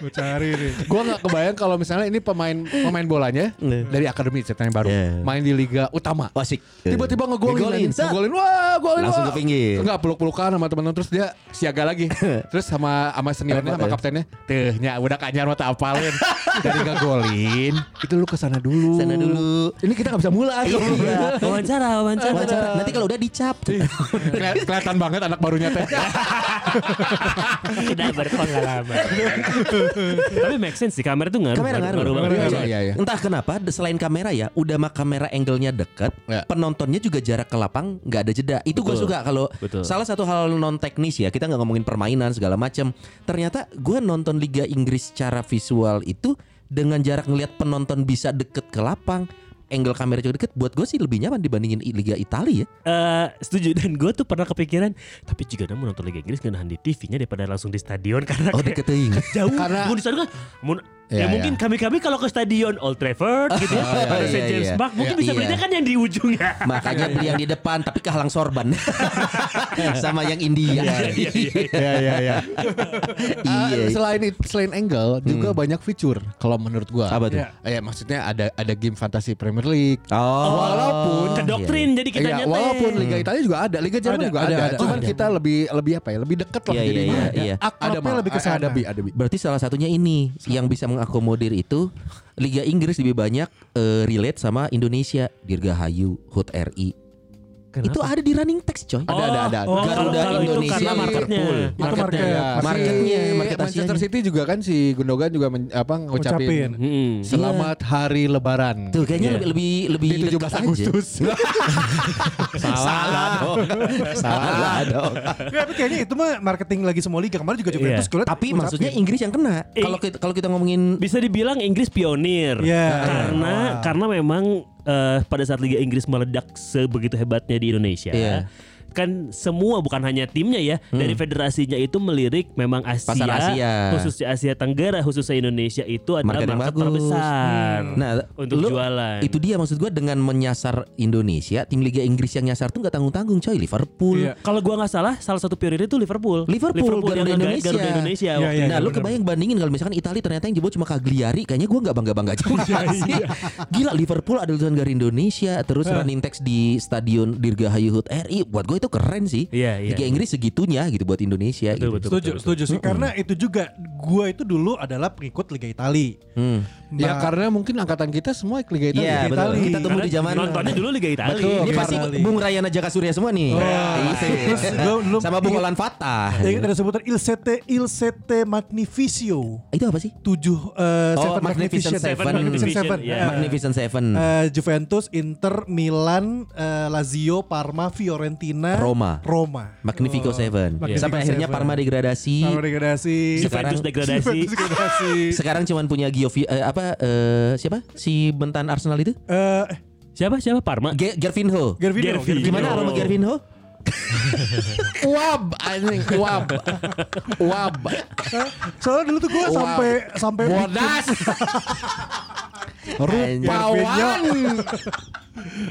Speaker 3: Gue cari nih.
Speaker 6: gua nggak kebayang kalau misalnya ini pemain pemain bolanya dari akademi ceritanya baru
Speaker 5: Iya.
Speaker 6: main di liga utama.
Speaker 5: Wasik.
Speaker 6: Tiba-tiba ngegolin,
Speaker 5: Ngegolin,
Speaker 6: anjing.
Speaker 5: set.
Speaker 6: ngegolin, wah, golin,
Speaker 5: Langsung
Speaker 6: wah.
Speaker 5: ke pinggir.
Speaker 6: Enggak peluk-pelukan sama teman-teman terus dia siaga lagi. terus sama sama
Speaker 5: ya?
Speaker 6: seniornya sama kaptennya, teh nya udah kanyar mata apalin. Dari nggak golin, itu lu kesana dulu.
Speaker 5: Sana dulu.
Speaker 6: Ini kita nggak bisa mulai.
Speaker 5: Iya.
Speaker 2: Wawancara, wawancara.
Speaker 5: Wawancara. Nanti kalau udah dicap.
Speaker 6: Keli- Kelihatan banget anak barunya teh.
Speaker 2: Tidak berpengalaman. Tapi make sense sih kamera tuh ngaruh.
Speaker 5: Kamera ngaruh.
Speaker 2: banget.
Speaker 6: Iya, iya, iya.
Speaker 5: Entah kenapa de- selain kamera ya, udah mah kamera angle-nya deket,
Speaker 6: Ya.
Speaker 5: penontonnya juga jarak ke lapang nggak ada jeda. Itu gue
Speaker 2: Betul.
Speaker 5: suka kalau
Speaker 2: Betul.
Speaker 5: salah satu hal non teknis ya, kita nggak ngomongin permainan segala macam. Ternyata gue nonton Liga Inggris secara visual itu dengan jarak ngelihat penonton bisa deket ke lapang, angle kamera juga deket. Buat gue sih lebih nyaman dibandingin I- Liga Italia ya.
Speaker 2: Eh, setuju dan gue tuh pernah kepikiran tapi jika mau nonton Liga Inggris gak nahan di TV-nya daripada langsung di stadion karena
Speaker 5: Oh
Speaker 2: kayak
Speaker 5: deket ting.
Speaker 2: jauh
Speaker 6: Karena-
Speaker 2: Mun di stadion kan mun- ya,
Speaker 6: Iya, iya.
Speaker 2: mungkin kami-kami kalau ke stadion Old Trafford gitu ya,
Speaker 5: iya,
Speaker 2: ada
Speaker 5: iya,
Speaker 2: St James
Speaker 5: iya.
Speaker 2: Park mungkin
Speaker 5: Iya,
Speaker 2: bisa
Speaker 5: iya.
Speaker 2: belinya kan yang di ujung ya.
Speaker 5: Makanya beli yang di depan tapi kehalang sorban sama yang India. Iya
Speaker 6: Iya, iya, iya. Eh, selain it- selain angle juga banyak fitur kalau menurut gua.
Speaker 5: Hmm. Apa tuh?
Speaker 6: Iya. Eh, maksudnya ada ada game fantasi Premier League.
Speaker 5: Oh,
Speaker 2: ke
Speaker 6: Walaupun
Speaker 2: doktrin jadi kita
Speaker 6: Iya,
Speaker 2: nyetel.
Speaker 6: walaupun Liga
Speaker 5: Hmm.
Speaker 6: Italia juga ada, Liga Jerman
Speaker 3: Ada,
Speaker 6: juga ada,
Speaker 3: ada, ada.
Speaker 6: cuman
Speaker 3: Ada.
Speaker 6: kita lebih lebih apa ya? Lebih deket lah
Speaker 5: Iya, iya,
Speaker 6: jadinya.
Speaker 5: iya, iya.
Speaker 6: Ada
Speaker 3: Akrabnya
Speaker 6: mah,
Speaker 3: lebih ke
Speaker 6: Ada
Speaker 3: sana.
Speaker 6: bi, ada bi.
Speaker 5: Berarti salah satunya ini yang bisa mengakomodir itu Liga Inggris lebih banyak eh, relate sama Indonesia Dirgahayu HUT RI itu ada di running text coy
Speaker 2: Oh,
Speaker 5: ada ada ada
Speaker 2: oh,
Speaker 5: Garuda
Speaker 2: kalau- kalau itu
Speaker 5: Indonesia
Speaker 2: karena marketnya.
Speaker 5: Liverpool.
Speaker 3: Itu market.
Speaker 6: Masih
Speaker 5: Marketnya, market
Speaker 6: Manchester
Speaker 5: Asianya.
Speaker 6: City juga kan si Gundogan juga men- apa
Speaker 3: Ucapin.
Speaker 6: ngucapin
Speaker 5: Hmm.
Speaker 2: Mm-mm.
Speaker 6: selamat hari lebaran.
Speaker 5: Iya. Tuh kayaknya
Speaker 2: Iya.
Speaker 5: lebih lebih lebih
Speaker 6: di
Speaker 5: dekat
Speaker 6: 17
Speaker 5: aja.
Speaker 6: Agustus.
Speaker 5: Salah dong. Salah dong.
Speaker 3: Nggak, tapi kayaknya itu mah marketing lagi semua liga. Kemarin juga Juventus
Speaker 2: Iya.
Speaker 3: gue liat
Speaker 5: Tapi
Speaker 3: ngucapin.
Speaker 5: maksudnya Inggris yang kena.
Speaker 2: Ing-
Speaker 5: Kalau kita kalau kita ngomongin
Speaker 2: Bisa dibilang Inggris pionir.
Speaker 3: Iya.
Speaker 2: Karena
Speaker 5: Ah.
Speaker 2: karena memang eh, pada saat Liga Inggris meledak sebegitu hebatnya di Indonesia.
Speaker 5: Iya. Hmm.
Speaker 2: Kan semua bukan hanya timnya ya dari federasinya itu melirik memang Asia,
Speaker 5: Pasar Asia.
Speaker 2: khususnya Asia Tenggara khususnya Indonesia itu adalah
Speaker 5: Market yang
Speaker 2: market,
Speaker 5: bagus.
Speaker 2: terbesar
Speaker 5: Nah,
Speaker 2: untuk
Speaker 5: lu-
Speaker 2: jualan.
Speaker 5: itu dia maksud gua dengan menyasar Indonesia, tim Liga Inggris yang nyasar tuh nggak tanggung-tanggung coy, Liverpool.
Speaker 3: Iya.
Speaker 2: Kalau gua nggak salah salah satu pionir itu Liverpool.
Speaker 5: Liverpool, Garuda
Speaker 2: yang nge-
Speaker 5: Indonesia.
Speaker 2: Garuda Indonesia.
Speaker 3: Iya,
Speaker 2: waktu
Speaker 3: iya,
Speaker 2: itu.
Speaker 5: Nah, lu kebayang bandingin kalau misalkan Italia ternyata yang jebol cuma Cagliari, kayaknya gua nggak bangga-bangga juga
Speaker 2: Iya,
Speaker 5: sih. Gila Liverpool ada tulisan dari Indonesia, terus running text di Stadion Dirgahayu HUT RI. Buat gue itu keren sih.
Speaker 2: Iya, iya,
Speaker 5: Liga
Speaker 2: iya.
Speaker 5: Inggris segitunya gitu buat Indonesia
Speaker 2: Betul,
Speaker 5: gitu.
Speaker 2: betul,
Speaker 3: Setuju,
Speaker 2: betul, betul.
Speaker 3: setuju sih. Karena itu juga gue itu dulu adalah pengikut Liga Nah, Itali.
Speaker 5: Hmm.
Speaker 6: ya karena mungkin angkatan kita semua Liga Italia.
Speaker 5: Iya,
Speaker 3: Liga
Speaker 5: betul.
Speaker 3: Itali.
Speaker 5: Kita tumbuh
Speaker 2: Karena
Speaker 5: di zaman
Speaker 2: nontonnya dulu Iya, Liga Italia.
Speaker 5: Betul, ini
Speaker 3: Liga
Speaker 5: pasti
Speaker 3: Itali.
Speaker 5: Bung Rayana Jaka Surya semua
Speaker 2: Oh.
Speaker 5: nih. Iya.
Speaker 3: Terus gua dulu
Speaker 5: Sama Bung
Speaker 3: ingat-
Speaker 5: Olan Fatah.
Speaker 3: Ya,
Speaker 2: Iya,
Speaker 3: ada sebutan Il Sette Il Sette Magnificio.
Speaker 5: Itu apa sih?
Speaker 3: Tujuh eh,
Speaker 5: Oh,
Speaker 3: Seven
Speaker 5: Magnificent
Speaker 3: Magnificent
Speaker 5: Seven.
Speaker 3: Magnificent
Speaker 2: Magnificent,
Speaker 3: Seven.
Speaker 2: iya.
Speaker 3: Eh,
Speaker 5: Magnificent Seven.
Speaker 3: eh, Juventus, Inter, Milan, eh, Lazio, Parma, Fiorentina,
Speaker 5: Roma.
Speaker 2: oh.
Speaker 3: Roma. Oh,
Speaker 5: Magnifico Seven.
Speaker 3: Magnifico
Speaker 5: Sampai akhirnya
Speaker 3: Seven.
Speaker 5: Parma degradasi.
Speaker 3: Parma degradasi.
Speaker 5: Sekarang-
Speaker 2: Juventus degradasi.
Speaker 3: Juventus degradasi.
Speaker 5: Sekarang cuman punya Giovi eh, apa eh, siapa? Si bentan Arsenal itu?
Speaker 3: Eh,
Speaker 2: Siapa siapa Parma?
Speaker 5: Ge- Gervinho.
Speaker 3: Gervinho,
Speaker 2: Gervinho.
Speaker 3: Gervinho.
Speaker 5: Gimana aroma Gervinho?
Speaker 6: Wab anjing, wab. Wab.
Speaker 3: Soalnya dulu tuh gue
Speaker 6: Wow.
Speaker 3: sampai sampai
Speaker 6: Bodas.
Speaker 3: Gervinho.
Speaker 6: Rupawan.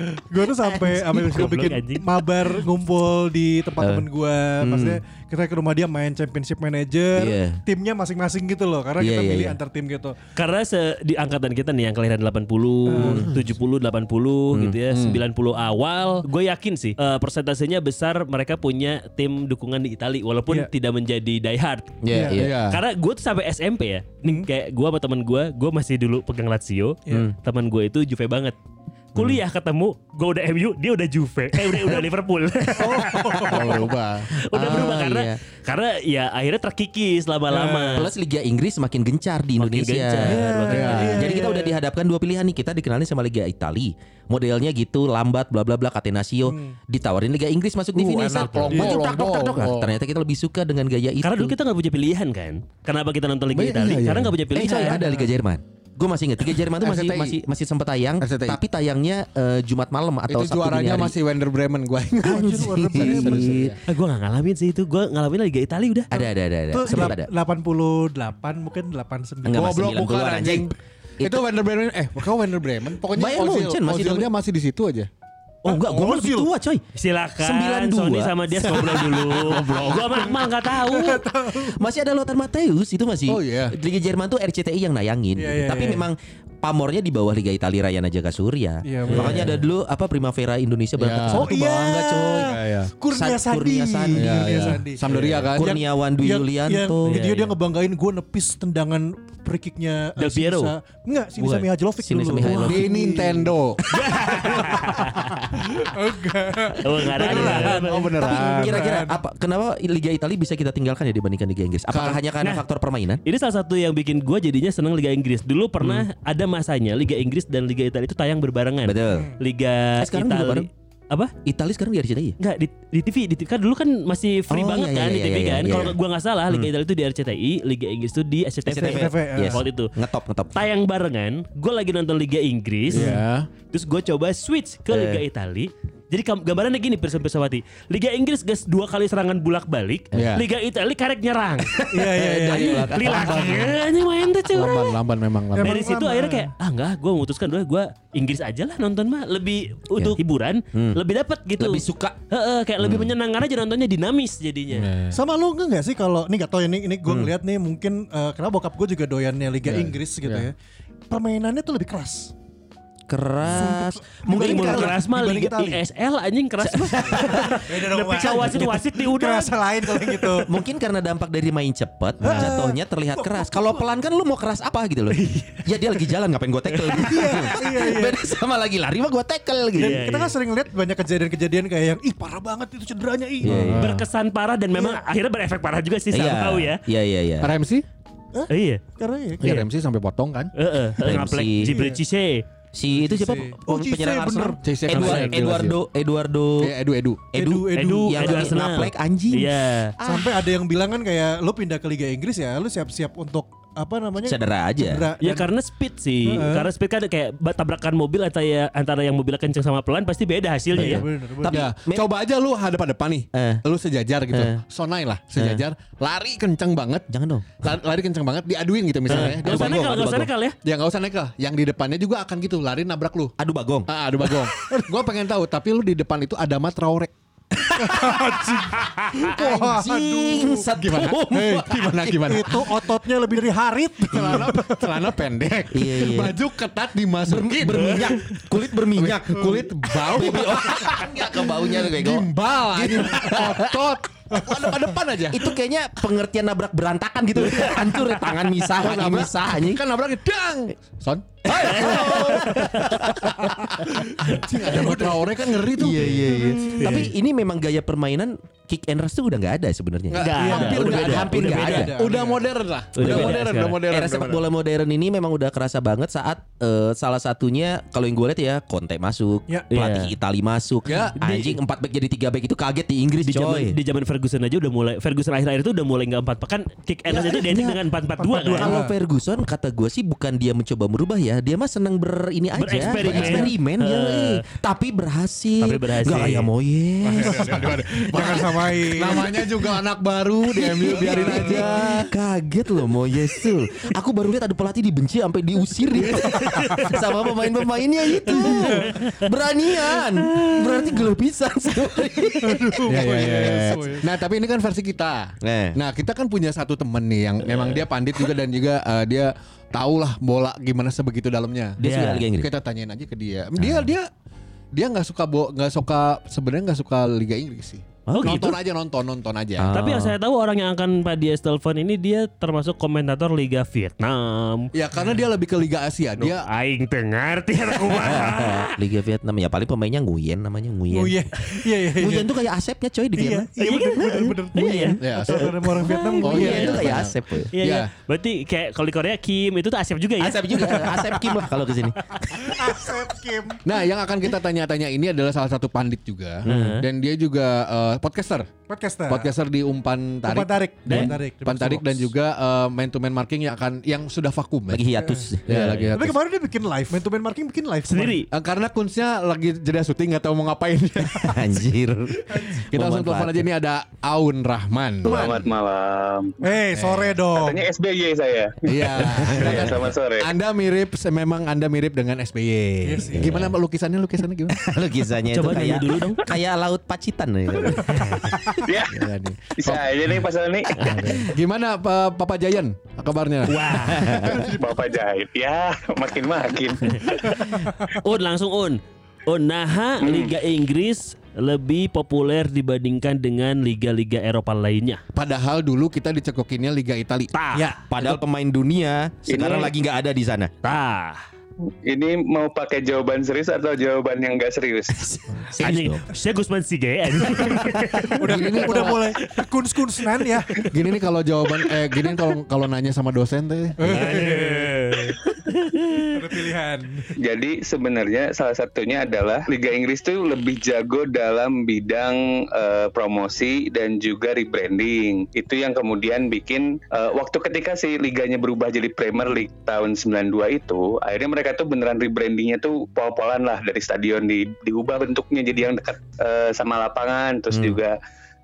Speaker 3: gue tuh sampai sampai suka
Speaker 2: Goblok,
Speaker 3: bikin
Speaker 2: anjing.
Speaker 3: mabar ngumpul di
Speaker 5: Eh.
Speaker 3: tempat temen gue. Maksudnya kita ke rumah dia main championship manager,
Speaker 5: Hmm. Iya.
Speaker 3: timnya masing-masing gitu loh. Karena
Speaker 5: Iya,
Speaker 3: kita
Speaker 5: iya,
Speaker 3: milih
Speaker 5: iya.
Speaker 3: antar tim gitu.
Speaker 2: Karena se- di angkatan kita nih yang kelahiran 80,
Speaker 5: Hmm.
Speaker 2: 70, 80 gitu ya, 90 awal, gue yakin sih eh, persentasenya besar mereka punya tim dukungan di Itali walaupun
Speaker 3: Iya.
Speaker 2: tidak menjadi diehard.
Speaker 5: Iya, Hmm. iya.
Speaker 2: Karena gue tuh sampai SMP ya, nih kayak gue sama temen gue, gue masih dulu pegang Lazio,
Speaker 5: Iya.
Speaker 2: Hmm. temen gue itu Juve banget. Kuliah
Speaker 5: Hmm.
Speaker 2: ketemu, gue udah MU, dia udah Juve, eh udah, udah Liverpool.
Speaker 6: Oh, berubah.
Speaker 2: udah
Speaker 5: Ah,
Speaker 2: berubah karena
Speaker 5: iya.
Speaker 2: karena ya akhirnya terkikis lama-lama.
Speaker 5: Plus Liga Inggris makin gencar di
Speaker 2: Makin
Speaker 5: Indonesia.
Speaker 2: gencar, makin
Speaker 5: Iya.
Speaker 2: gencar.
Speaker 5: Jadi kita udah dihadapkan dua pilihan nih. Kita dikenalin sama Liga Itali. Modelnya gitu lambat bla bla bla Catenaccio ditawarin Liga Inggris masuk di
Speaker 6: Uh,
Speaker 5: sini.
Speaker 6: enak,
Speaker 5: Sak, maju,
Speaker 6: lombok,
Speaker 5: tak,
Speaker 6: lombok.
Speaker 5: tak, tak, tak.
Speaker 6: Oh.
Speaker 5: Ternyata kita lebih suka dengan gaya itu.
Speaker 2: Karena dulu kita nggak punya pilihan kan. Kenapa kita nonton Liga
Speaker 6: Iya,
Speaker 2: Italia?
Speaker 6: iya.
Speaker 2: Karena nggak punya
Speaker 5: Eh
Speaker 2: pilihan.
Speaker 5: coy ada Liga Jerman. Gue masih inget Liga Jerman tuh masih
Speaker 6: RCTI.
Speaker 5: masih masih sempat tayang,
Speaker 6: RCTI.
Speaker 5: tapi tayangnya eh, Jumat malam atau Sabtu dini
Speaker 6: Itu juaranya
Speaker 5: hari. Iya,
Speaker 6: masih Wender Bremen gua ingat.
Speaker 5: Anjir.
Speaker 2: Eh, gue nggak ngalamin sih itu. Gue ngalamin Liga Italia udah.
Speaker 5: Ada ada ada ada.
Speaker 3: Itu
Speaker 2: iya.
Speaker 5: Sempat Iya, ada.
Speaker 3: 88 mungkin 89.
Speaker 5: Enggak, Mas.
Speaker 6: Goblok
Speaker 5: 92
Speaker 6: bukan
Speaker 5: anjing.
Speaker 6: anjing. Itu Wender Bremen eh bukan Wender Bremen. Pokoknya
Speaker 5: Bayern
Speaker 6: Ozil,
Speaker 5: Munchen masih
Speaker 6: Ozilnya masih di situ aja.
Speaker 5: Oh enggak, gue lebih tua coy.
Speaker 2: Silakan
Speaker 5: 92.
Speaker 2: Sony sama dia ngobrol dulu. gue sama Akmal nggak tahu.
Speaker 5: Masih ada Lothar Matthäus itu masih
Speaker 6: Oh, iya.
Speaker 5: Liga Jerman tuh RCTI yang nayangin.
Speaker 3: Iya,
Speaker 5: gitu.
Speaker 3: iya,
Speaker 5: Tapi
Speaker 3: iya.
Speaker 5: memang pamornya di bawah Liga Italia Rayana Jaga Surya.
Speaker 3: Iya, benar.
Speaker 5: Makanya ada dulu apa Primavera Indonesia berangkat
Speaker 6: Iya.
Speaker 5: ke sana
Speaker 3: Oh
Speaker 5: tuh
Speaker 3: iya.
Speaker 5: bangga coy.
Speaker 6: iya.
Speaker 3: Kurnia
Speaker 5: Sa-
Speaker 3: Sandi.
Speaker 5: Kurnia Sandi.
Speaker 3: Kurnia
Speaker 6: Iya, iya.
Speaker 3: Sandi.
Speaker 6: Sampdoria kan.
Speaker 5: Kurniawan Dwi
Speaker 3: Yang- yang
Speaker 5: Yulianto.
Speaker 3: video
Speaker 2: Iya,
Speaker 3: dia
Speaker 2: iya.
Speaker 3: ngebanggain gue nepis tendangan free kicknya
Speaker 2: Del Piero?
Speaker 3: Enggak, Sinisa
Speaker 5: Bukan.
Speaker 3: Mihajlovic dulu.
Speaker 5: Sinisa Mihajlovic.
Speaker 6: Di Nintendo.
Speaker 2: Oh, nggak ada.
Speaker 5: Tapi
Speaker 6: Oh beneran.
Speaker 5: kira-kira apa kenapa Liga Italia bisa kita tinggalkan ya dibandingkan Liga Inggris?
Speaker 3: Kan.
Speaker 5: Apakah hanya karena faktor permainan?
Speaker 2: Ini salah satu yang bikin gue jadinya seneng Liga Inggris. Dulu pernah ada masanya Liga Inggris dan Liga Italia itu tayang berbarengan.
Speaker 5: Hmm. Betul.
Speaker 2: Liga
Speaker 5: Eh, sekarang juga
Speaker 2: Italia.
Speaker 5: bareng.
Speaker 2: Apa?
Speaker 5: Italia sekarang di RCTI ya?
Speaker 2: Enggak di, di TV, di TV kan dulu kan masih free
Speaker 5: Oh, iya,
Speaker 2: banget
Speaker 5: iya,
Speaker 2: kan di TV
Speaker 5: iya, iya,
Speaker 2: kan.
Speaker 5: iya.
Speaker 2: Kalau gua nggak salah Liga Italia itu di RCTI, Liga Inggris itu di SCTV.
Speaker 3: SCTV,
Speaker 5: Yes.
Speaker 2: Waktu itu
Speaker 5: Ngetop ngetop.
Speaker 3: Iya,
Speaker 2: tayang barengan, gue lagi nonton Liga Inggris.
Speaker 5: Iya.
Speaker 2: Terus gue coba switch
Speaker 5: Eh.
Speaker 2: ke Liga Italia. Jadi kam- gambarannya gini Pirsa Pirsawati. Liga Inggris guys dua kali serangan bulak balik,
Speaker 6: Iya.
Speaker 2: Liga Italia karek nyerang.
Speaker 3: Iya, iya, iya.
Speaker 2: Lila ini main tuh cewek.
Speaker 6: Lamban, lamban memang lamban.
Speaker 2: Dari
Speaker 3: Emang
Speaker 2: situ
Speaker 3: lama.
Speaker 2: akhirnya kayak ah enggak gue memutuskan udah gue Inggris aja lah nonton mah lebih untuk hiburan lebih dapat gitu
Speaker 5: Iya. Hmm. Lebih suka. Hmm. Iya.
Speaker 2: Heeh, kayak lebih menyenangkan aja nontonnya dinamis jadinya
Speaker 3: Sama lo enggak nggak sih kalau ini nggak tahu ya, ini ini gue ngeliat nih mungkin eh, karena bokap gue juga doyannya Liga Inggris gitu ya. Permainannya tuh lebih keras.
Speaker 5: keras. Mungkin
Speaker 2: Mungkin
Speaker 3: Dibanding
Speaker 2: mulu
Speaker 3: Itali.
Speaker 2: keras mah
Speaker 3: Dibanding
Speaker 2: Liga
Speaker 3: Itali.
Speaker 2: ISL anjing keras mah.
Speaker 1: Beda dong,
Speaker 2: Lebih
Speaker 1: Wak.
Speaker 3: gitu.
Speaker 2: ke wasit-wasit di udara.
Speaker 1: Kerasa lain kalau yang gitu.
Speaker 5: Mungkin karena dampak dari main cepet Jatuhnya terlihat keras Kalau pelan kan lu mau keras apa gitu loh Ya dia lagi jalan ngapain gue tackle gitu? Beda sama lagi lari mah gue tackle gitu
Speaker 2: Iya,
Speaker 3: Kita kan sering lihat banyak kejadian-kejadian kayak yang ih parah banget itu cederanya ih.
Speaker 5: Iya, iya.
Speaker 2: Berkesan parah dan memang akhirnya berefek parah juga sih somehow ya.
Speaker 5: Iya iya iya
Speaker 6: RMC?
Speaker 2: Iya.
Speaker 3: Karena ya,
Speaker 6: Ya RMC sampai potong kan?
Speaker 2: Heeh,
Speaker 5: Ramsey.
Speaker 2: ngaplek Jibril Cisse.
Speaker 5: Si itu siapa
Speaker 3: Oh, Cisse,
Speaker 5: penyerang Arsenal
Speaker 6: bener. Cisse kan
Speaker 5: Edward-
Speaker 6: bener.
Speaker 5: Eduardo Eduardo
Speaker 6: Eh, Edu Edu.
Speaker 5: Edu
Speaker 3: Edu,
Speaker 2: Edu,
Speaker 5: yang
Speaker 2: Edu
Speaker 5: lagi
Speaker 2: Arsenal.
Speaker 5: naplek anjing.
Speaker 2: Iya.
Speaker 3: sampai ada yang bilang kan kayak lu pindah ke Liga Inggris ya, lu siap-siap untuk apa namanya?
Speaker 5: Cedera aja.
Speaker 3: Cedera.
Speaker 2: Ya
Speaker 3: Dan-
Speaker 2: karena speed sih, karena speed kan kayak ba- tabrakan mobil antara ya, antara yang mobilnya kenceng sama pelan pasti beda hasilnya ya.
Speaker 3: Bener, bener.
Speaker 5: Tapi
Speaker 6: Ya,
Speaker 5: me-
Speaker 6: coba aja lu hadap-hadapan nih.
Speaker 5: Eh.
Speaker 6: Lu sejajar gitu. Sonai lah, sejajar. Lari kenceng banget.
Speaker 5: jangan dong.
Speaker 6: Lari, lari kenceng banget diaduin gitu misalnya.
Speaker 2: Gak usah nekal,
Speaker 6: bagong, adu
Speaker 2: gak usah
Speaker 6: bagong.
Speaker 2: nekal ya.
Speaker 6: Ya nggak usah nekel. Yang di depannya juga akan gitu, lari nabrak lu.
Speaker 5: Aduh bagong.
Speaker 6: Ah, aduh bagong. Gua pengen tahu, tapi lu di depan itu ada Mat Traore.
Speaker 5: Anjing,
Speaker 6: Gimana? Hei, gimana gimana?
Speaker 3: itu ototnya lebih dari Harit.
Speaker 6: celana celana pendek,
Speaker 5: Iya, iya.
Speaker 6: baju ketat dimasukin,
Speaker 5: berminyak, kulit berminyak, kulit
Speaker 6: kulit bau,
Speaker 5: enggak ke baunya tuh kayak gua.
Speaker 6: oh. gimbal, anjing. otot, depan depan aja.
Speaker 5: Itu kayaknya pengertian nabrak berantakan gitu. Hancur ya, tangan misah, kaki misah anjing.
Speaker 6: Kan nabraknya dang. Son. Anjing ada Mat Traore kan ngeri tuh.
Speaker 5: Iya iya iya. Tapi ini memang gaya permainan kick and rush tuh udah nggak ada sebenarnya.
Speaker 6: Nggak,
Speaker 5: Nggak
Speaker 6: iya,
Speaker 5: ada,
Speaker 6: udah
Speaker 5: udah
Speaker 6: beda,
Speaker 5: hampir
Speaker 2: udah
Speaker 5: nggak
Speaker 2: beda.
Speaker 5: ada.
Speaker 6: Udah modern lah.
Speaker 2: Udah
Speaker 6: Udah
Speaker 2: beda
Speaker 6: modern,
Speaker 2: sekarang.
Speaker 6: udah modern.
Speaker 5: Era
Speaker 6: udah
Speaker 5: sepak
Speaker 6: modern.
Speaker 5: bola modern ini memang udah kerasa banget saat eh, salah satunya kalau yang gue lihat ya Conte masuk,
Speaker 3: Ya.
Speaker 5: pelatih
Speaker 2: Iya.
Speaker 5: Itali masuk,
Speaker 6: Ya,
Speaker 5: anjing 4 back jadi 3 back itu kaget di Inggris
Speaker 2: Di zaman
Speaker 5: coy.
Speaker 2: di zaman Ferguson aja udah mulai Ferguson akhir-akhir itu udah mulai nggak empat pekan kick and rush itu identik dengan empat empat dua kan.
Speaker 5: Kalau Ferguson kata gue sih bukan dia mencoba merubah ya, dia mah seneng ber ini aja,
Speaker 2: Bereksperimen.
Speaker 5: bereksperimen ya,
Speaker 2: Eh.
Speaker 5: eh. tapi berhasil.
Speaker 2: Tapi berhasil.
Speaker 5: Gak ayam moyes.
Speaker 3: Jangan samain.
Speaker 6: Namanya juga anak baru di MU biarin
Speaker 5: Iya,
Speaker 6: aja.
Speaker 5: Kaget loh Moyes tuh. Aku baru lihat ada pelatih dibenci sampai diusir gitu. Sama pemain-pemainnya itu. Beranian. Berarti gelobisan sebenarnya.
Speaker 6: Iya, iya, iya, iya.
Speaker 3: Oh, iya.
Speaker 6: Nah tapi ini kan versi kita.
Speaker 5: Eh. Iya.
Speaker 6: Nah kita kan punya satu temen nih yang memang dia pandit juga dan juga eh, dia tahu lah bola gimana sebegitu dalamnya.
Speaker 5: Dia suka
Speaker 2: Iya.
Speaker 5: Liga Inggris. Ah.
Speaker 6: Kita tanyain aja ke dia. Dia dia dia nggak suka bo nggak suka sebenarnya nggak suka Liga Inggris sih.
Speaker 2: Oh, gitu?
Speaker 6: nonton aja nonton nonton aja.
Speaker 5: Ah.
Speaker 2: Tapi yang saya tahu orang yang akan Pak Dias telepon ini dia termasuk komentator Liga Vietnam.
Speaker 6: Ya karena dia lebih ke Liga Asia. Dia
Speaker 5: ah.
Speaker 2: Aing dengar tiada kumaha.
Speaker 5: Liga Vietnam ya paling pemainnya Nguyen namanya Nguyen.
Speaker 3: Oh iya. Iya iya iya.
Speaker 5: Nguyen tuh kayak Asepnya coy di
Speaker 3: Iya,
Speaker 5: Vietnam.
Speaker 3: iya bener bener bener.
Speaker 2: Iya ya.
Speaker 6: ya, so-
Speaker 3: Saudara orang Vietnam
Speaker 6: Oh,
Speaker 3: iya.
Speaker 6: iya.
Speaker 5: Nguyen tuh kayak Asep. coy.
Speaker 2: Iya,
Speaker 6: Iya.
Speaker 2: iya. Berarti kayak kalau di Korea Kim itu tuh Asep juga ya.
Speaker 5: Asep juga, Asep Kim lah kalau kesini.
Speaker 3: Asep Kim.
Speaker 6: Nah, yang akan kita tanya-tanya ini adalah salah satu pandit juga, dan dia juga eh, podcaster,
Speaker 3: Podcaster.
Speaker 6: podcaster di umpan tarik,
Speaker 3: Umpan Tarik.
Speaker 6: dan
Speaker 3: Umpan Tarik.
Speaker 6: Umpan Tarik dan juga main to man marking yang akan yang sudah vakum ya.
Speaker 5: Lagi hiatus.
Speaker 6: Ya, lagi
Speaker 3: Tapi
Speaker 6: atas.
Speaker 3: kemarin dia bikin live, main to man marking bikin live
Speaker 2: Sendiri.
Speaker 6: Eh, karena kunsnya lagi jeda syuting nggak tahu mau ngapain.
Speaker 5: Anjir.
Speaker 6: kita langsung telepon aja ini ada Aun Rahman.
Speaker 7: Selamat malam.
Speaker 3: kemarin. Eh, sore dong.
Speaker 7: Katanya SBY saya.
Speaker 6: Iya.
Speaker 7: Oh. Iya, selamat sore.
Speaker 6: Anda mirip, memang Anda mirip dengan SBY.
Speaker 3: Iya sih.
Speaker 6: Gimana Pak lukisannya? Lukisannya gimana?
Speaker 5: Lu kisahnya itu
Speaker 2: Coba nyanyi
Speaker 5: kayak
Speaker 2: dulu dong.
Speaker 5: kayak laut Pacitan ya.
Speaker 7: Ya,
Speaker 6: Iya nih.
Speaker 7: bisa aja nih pasal ini.
Speaker 6: Gimana Pak Papa Jayan kabarnya?
Speaker 7: Bapak jahit ya, makin-makin.
Speaker 2: Un langsung Un. Un Naha Liga Inggris lebih populer dibandingkan dengan liga-liga Eropa lainnya.
Speaker 6: Padahal dulu kita dicekokinnya Liga Itali.
Speaker 2: Tah.
Speaker 5: Ah, Padahal pemain dunia sekarang
Speaker 7: Ini-
Speaker 5: lagi nggak ada di sana.
Speaker 2: Tah.
Speaker 7: Ini mau pakai jawaban serius atau jawaban yang enggak serius?
Speaker 2: Anjing,
Speaker 5: dong.
Speaker 2: saya Gusman Sige. anjing.
Speaker 3: Udah
Speaker 6: Gini nih
Speaker 3: udah
Speaker 6: kalau-
Speaker 3: mulai kuns kunsnan ya.
Speaker 6: Gini nih kalau jawaban eh gini nih kalau kalau nanya sama dosen teh.
Speaker 3: Eh. Ada pilihan.
Speaker 7: Jadi sebenarnya salah satunya adalah Liga Inggris tuh lebih jago dalam bidang eh, promosi dan juga rebranding. Itu yang kemudian bikin eh, waktu ketika si liganya berubah jadi Premier League tahun 92 itu, akhirnya mereka tuh beneran rebrandingnya tuh pol-polan lah dari stadion di diubah bentuknya jadi yang dekat eh, sama lapangan,
Speaker 6: Hmm.
Speaker 7: terus juga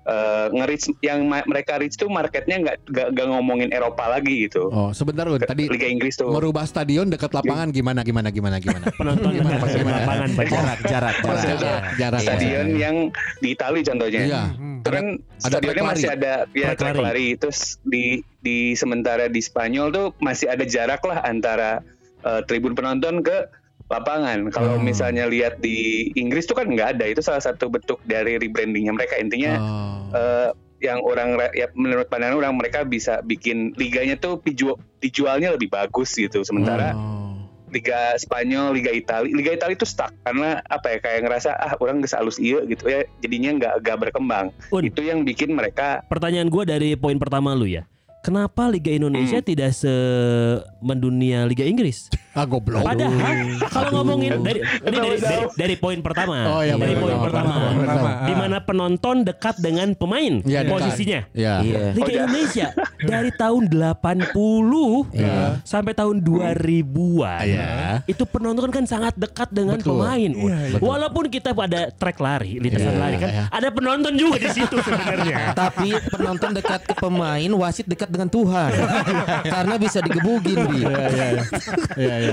Speaker 7: eh, nge-reach yang ma- mereka reach tuh marketnya nggak nggak- nggak ngomongin Eropa lagi gitu.
Speaker 6: Oh, sebentar Un, tadi
Speaker 7: Liga Inggris tuh.
Speaker 6: merubah stadion dekat lapangan gimana gimana gimana gimana.
Speaker 2: Penonton
Speaker 6: Gimana,
Speaker 2: di
Speaker 6: gimana?
Speaker 2: lapangan Pak.
Speaker 6: Iya.
Speaker 5: Jarak, jarak, jarak.
Speaker 7: Maksudnya
Speaker 6: Jarak.
Speaker 7: stadion yang di Itali contohnya.
Speaker 6: Iya.
Speaker 7: Itu kan
Speaker 6: ada
Speaker 7: stadionnya
Speaker 6: Klari.
Speaker 7: masih ada ya
Speaker 2: Klari.
Speaker 7: Klari. Terus di di sementara di Spanyol tuh masih ada jarak lah antara eh, tribun penonton ke lapangan. Kalau misalnya lihat di Inggris tuh kan nggak ada. Itu salah satu bentuk dari rebrandingnya mereka. Intinya
Speaker 6: Oh.
Speaker 7: eh, yang orang ra- ya menurut pandangan orang mereka bisa bikin liganya tuh dijual, dijualnya lebih bagus gitu. Sementara
Speaker 6: Oh.
Speaker 7: Liga Spanyol, Liga Italia, Liga Italia itu stuck karena apa ya kayak ngerasa ah orang gak halus iya gitu ya jadinya nggak nggak berkembang.
Speaker 2: Un,
Speaker 7: Itu yang bikin mereka
Speaker 2: pertanyaan gue dari poin pertama lu ya. Kenapa Liga Indonesia
Speaker 6: Hmm.
Speaker 2: tidak se mendunia Liga Inggris?
Speaker 6: Ah goblok.
Speaker 2: Padahal kalau ngomongin dari ini dari, dari, dari poin pertama,
Speaker 6: Oh, iya,
Speaker 2: dari
Speaker 6: benar,
Speaker 2: poin
Speaker 6: benar,
Speaker 2: pertama,
Speaker 6: benar, benar,
Speaker 3: benar.
Speaker 2: di mana penonton dekat dengan pemain
Speaker 6: Iya, dekat.
Speaker 2: posisinya.
Speaker 6: Ya.
Speaker 5: Iya.
Speaker 2: Liga
Speaker 7: Udah.
Speaker 2: Indonesia dari tahun 80 sampai tahun 2000-an.
Speaker 6: Iya.
Speaker 2: Itu penonton kan sangat dekat dengan
Speaker 6: Betul.
Speaker 2: pemain. Wah,
Speaker 3: Iya, iya.
Speaker 2: Walaupun kita pada track lari, lintasan
Speaker 6: Iya,
Speaker 2: lari kan
Speaker 6: iya.
Speaker 2: ada penonton juga di situ sebenarnya.
Speaker 5: Tapi penonton dekat ke pemain, wasit dekat dengan Tuhan. Karena bisa digebugin, Bi.
Speaker 6: Iya iya.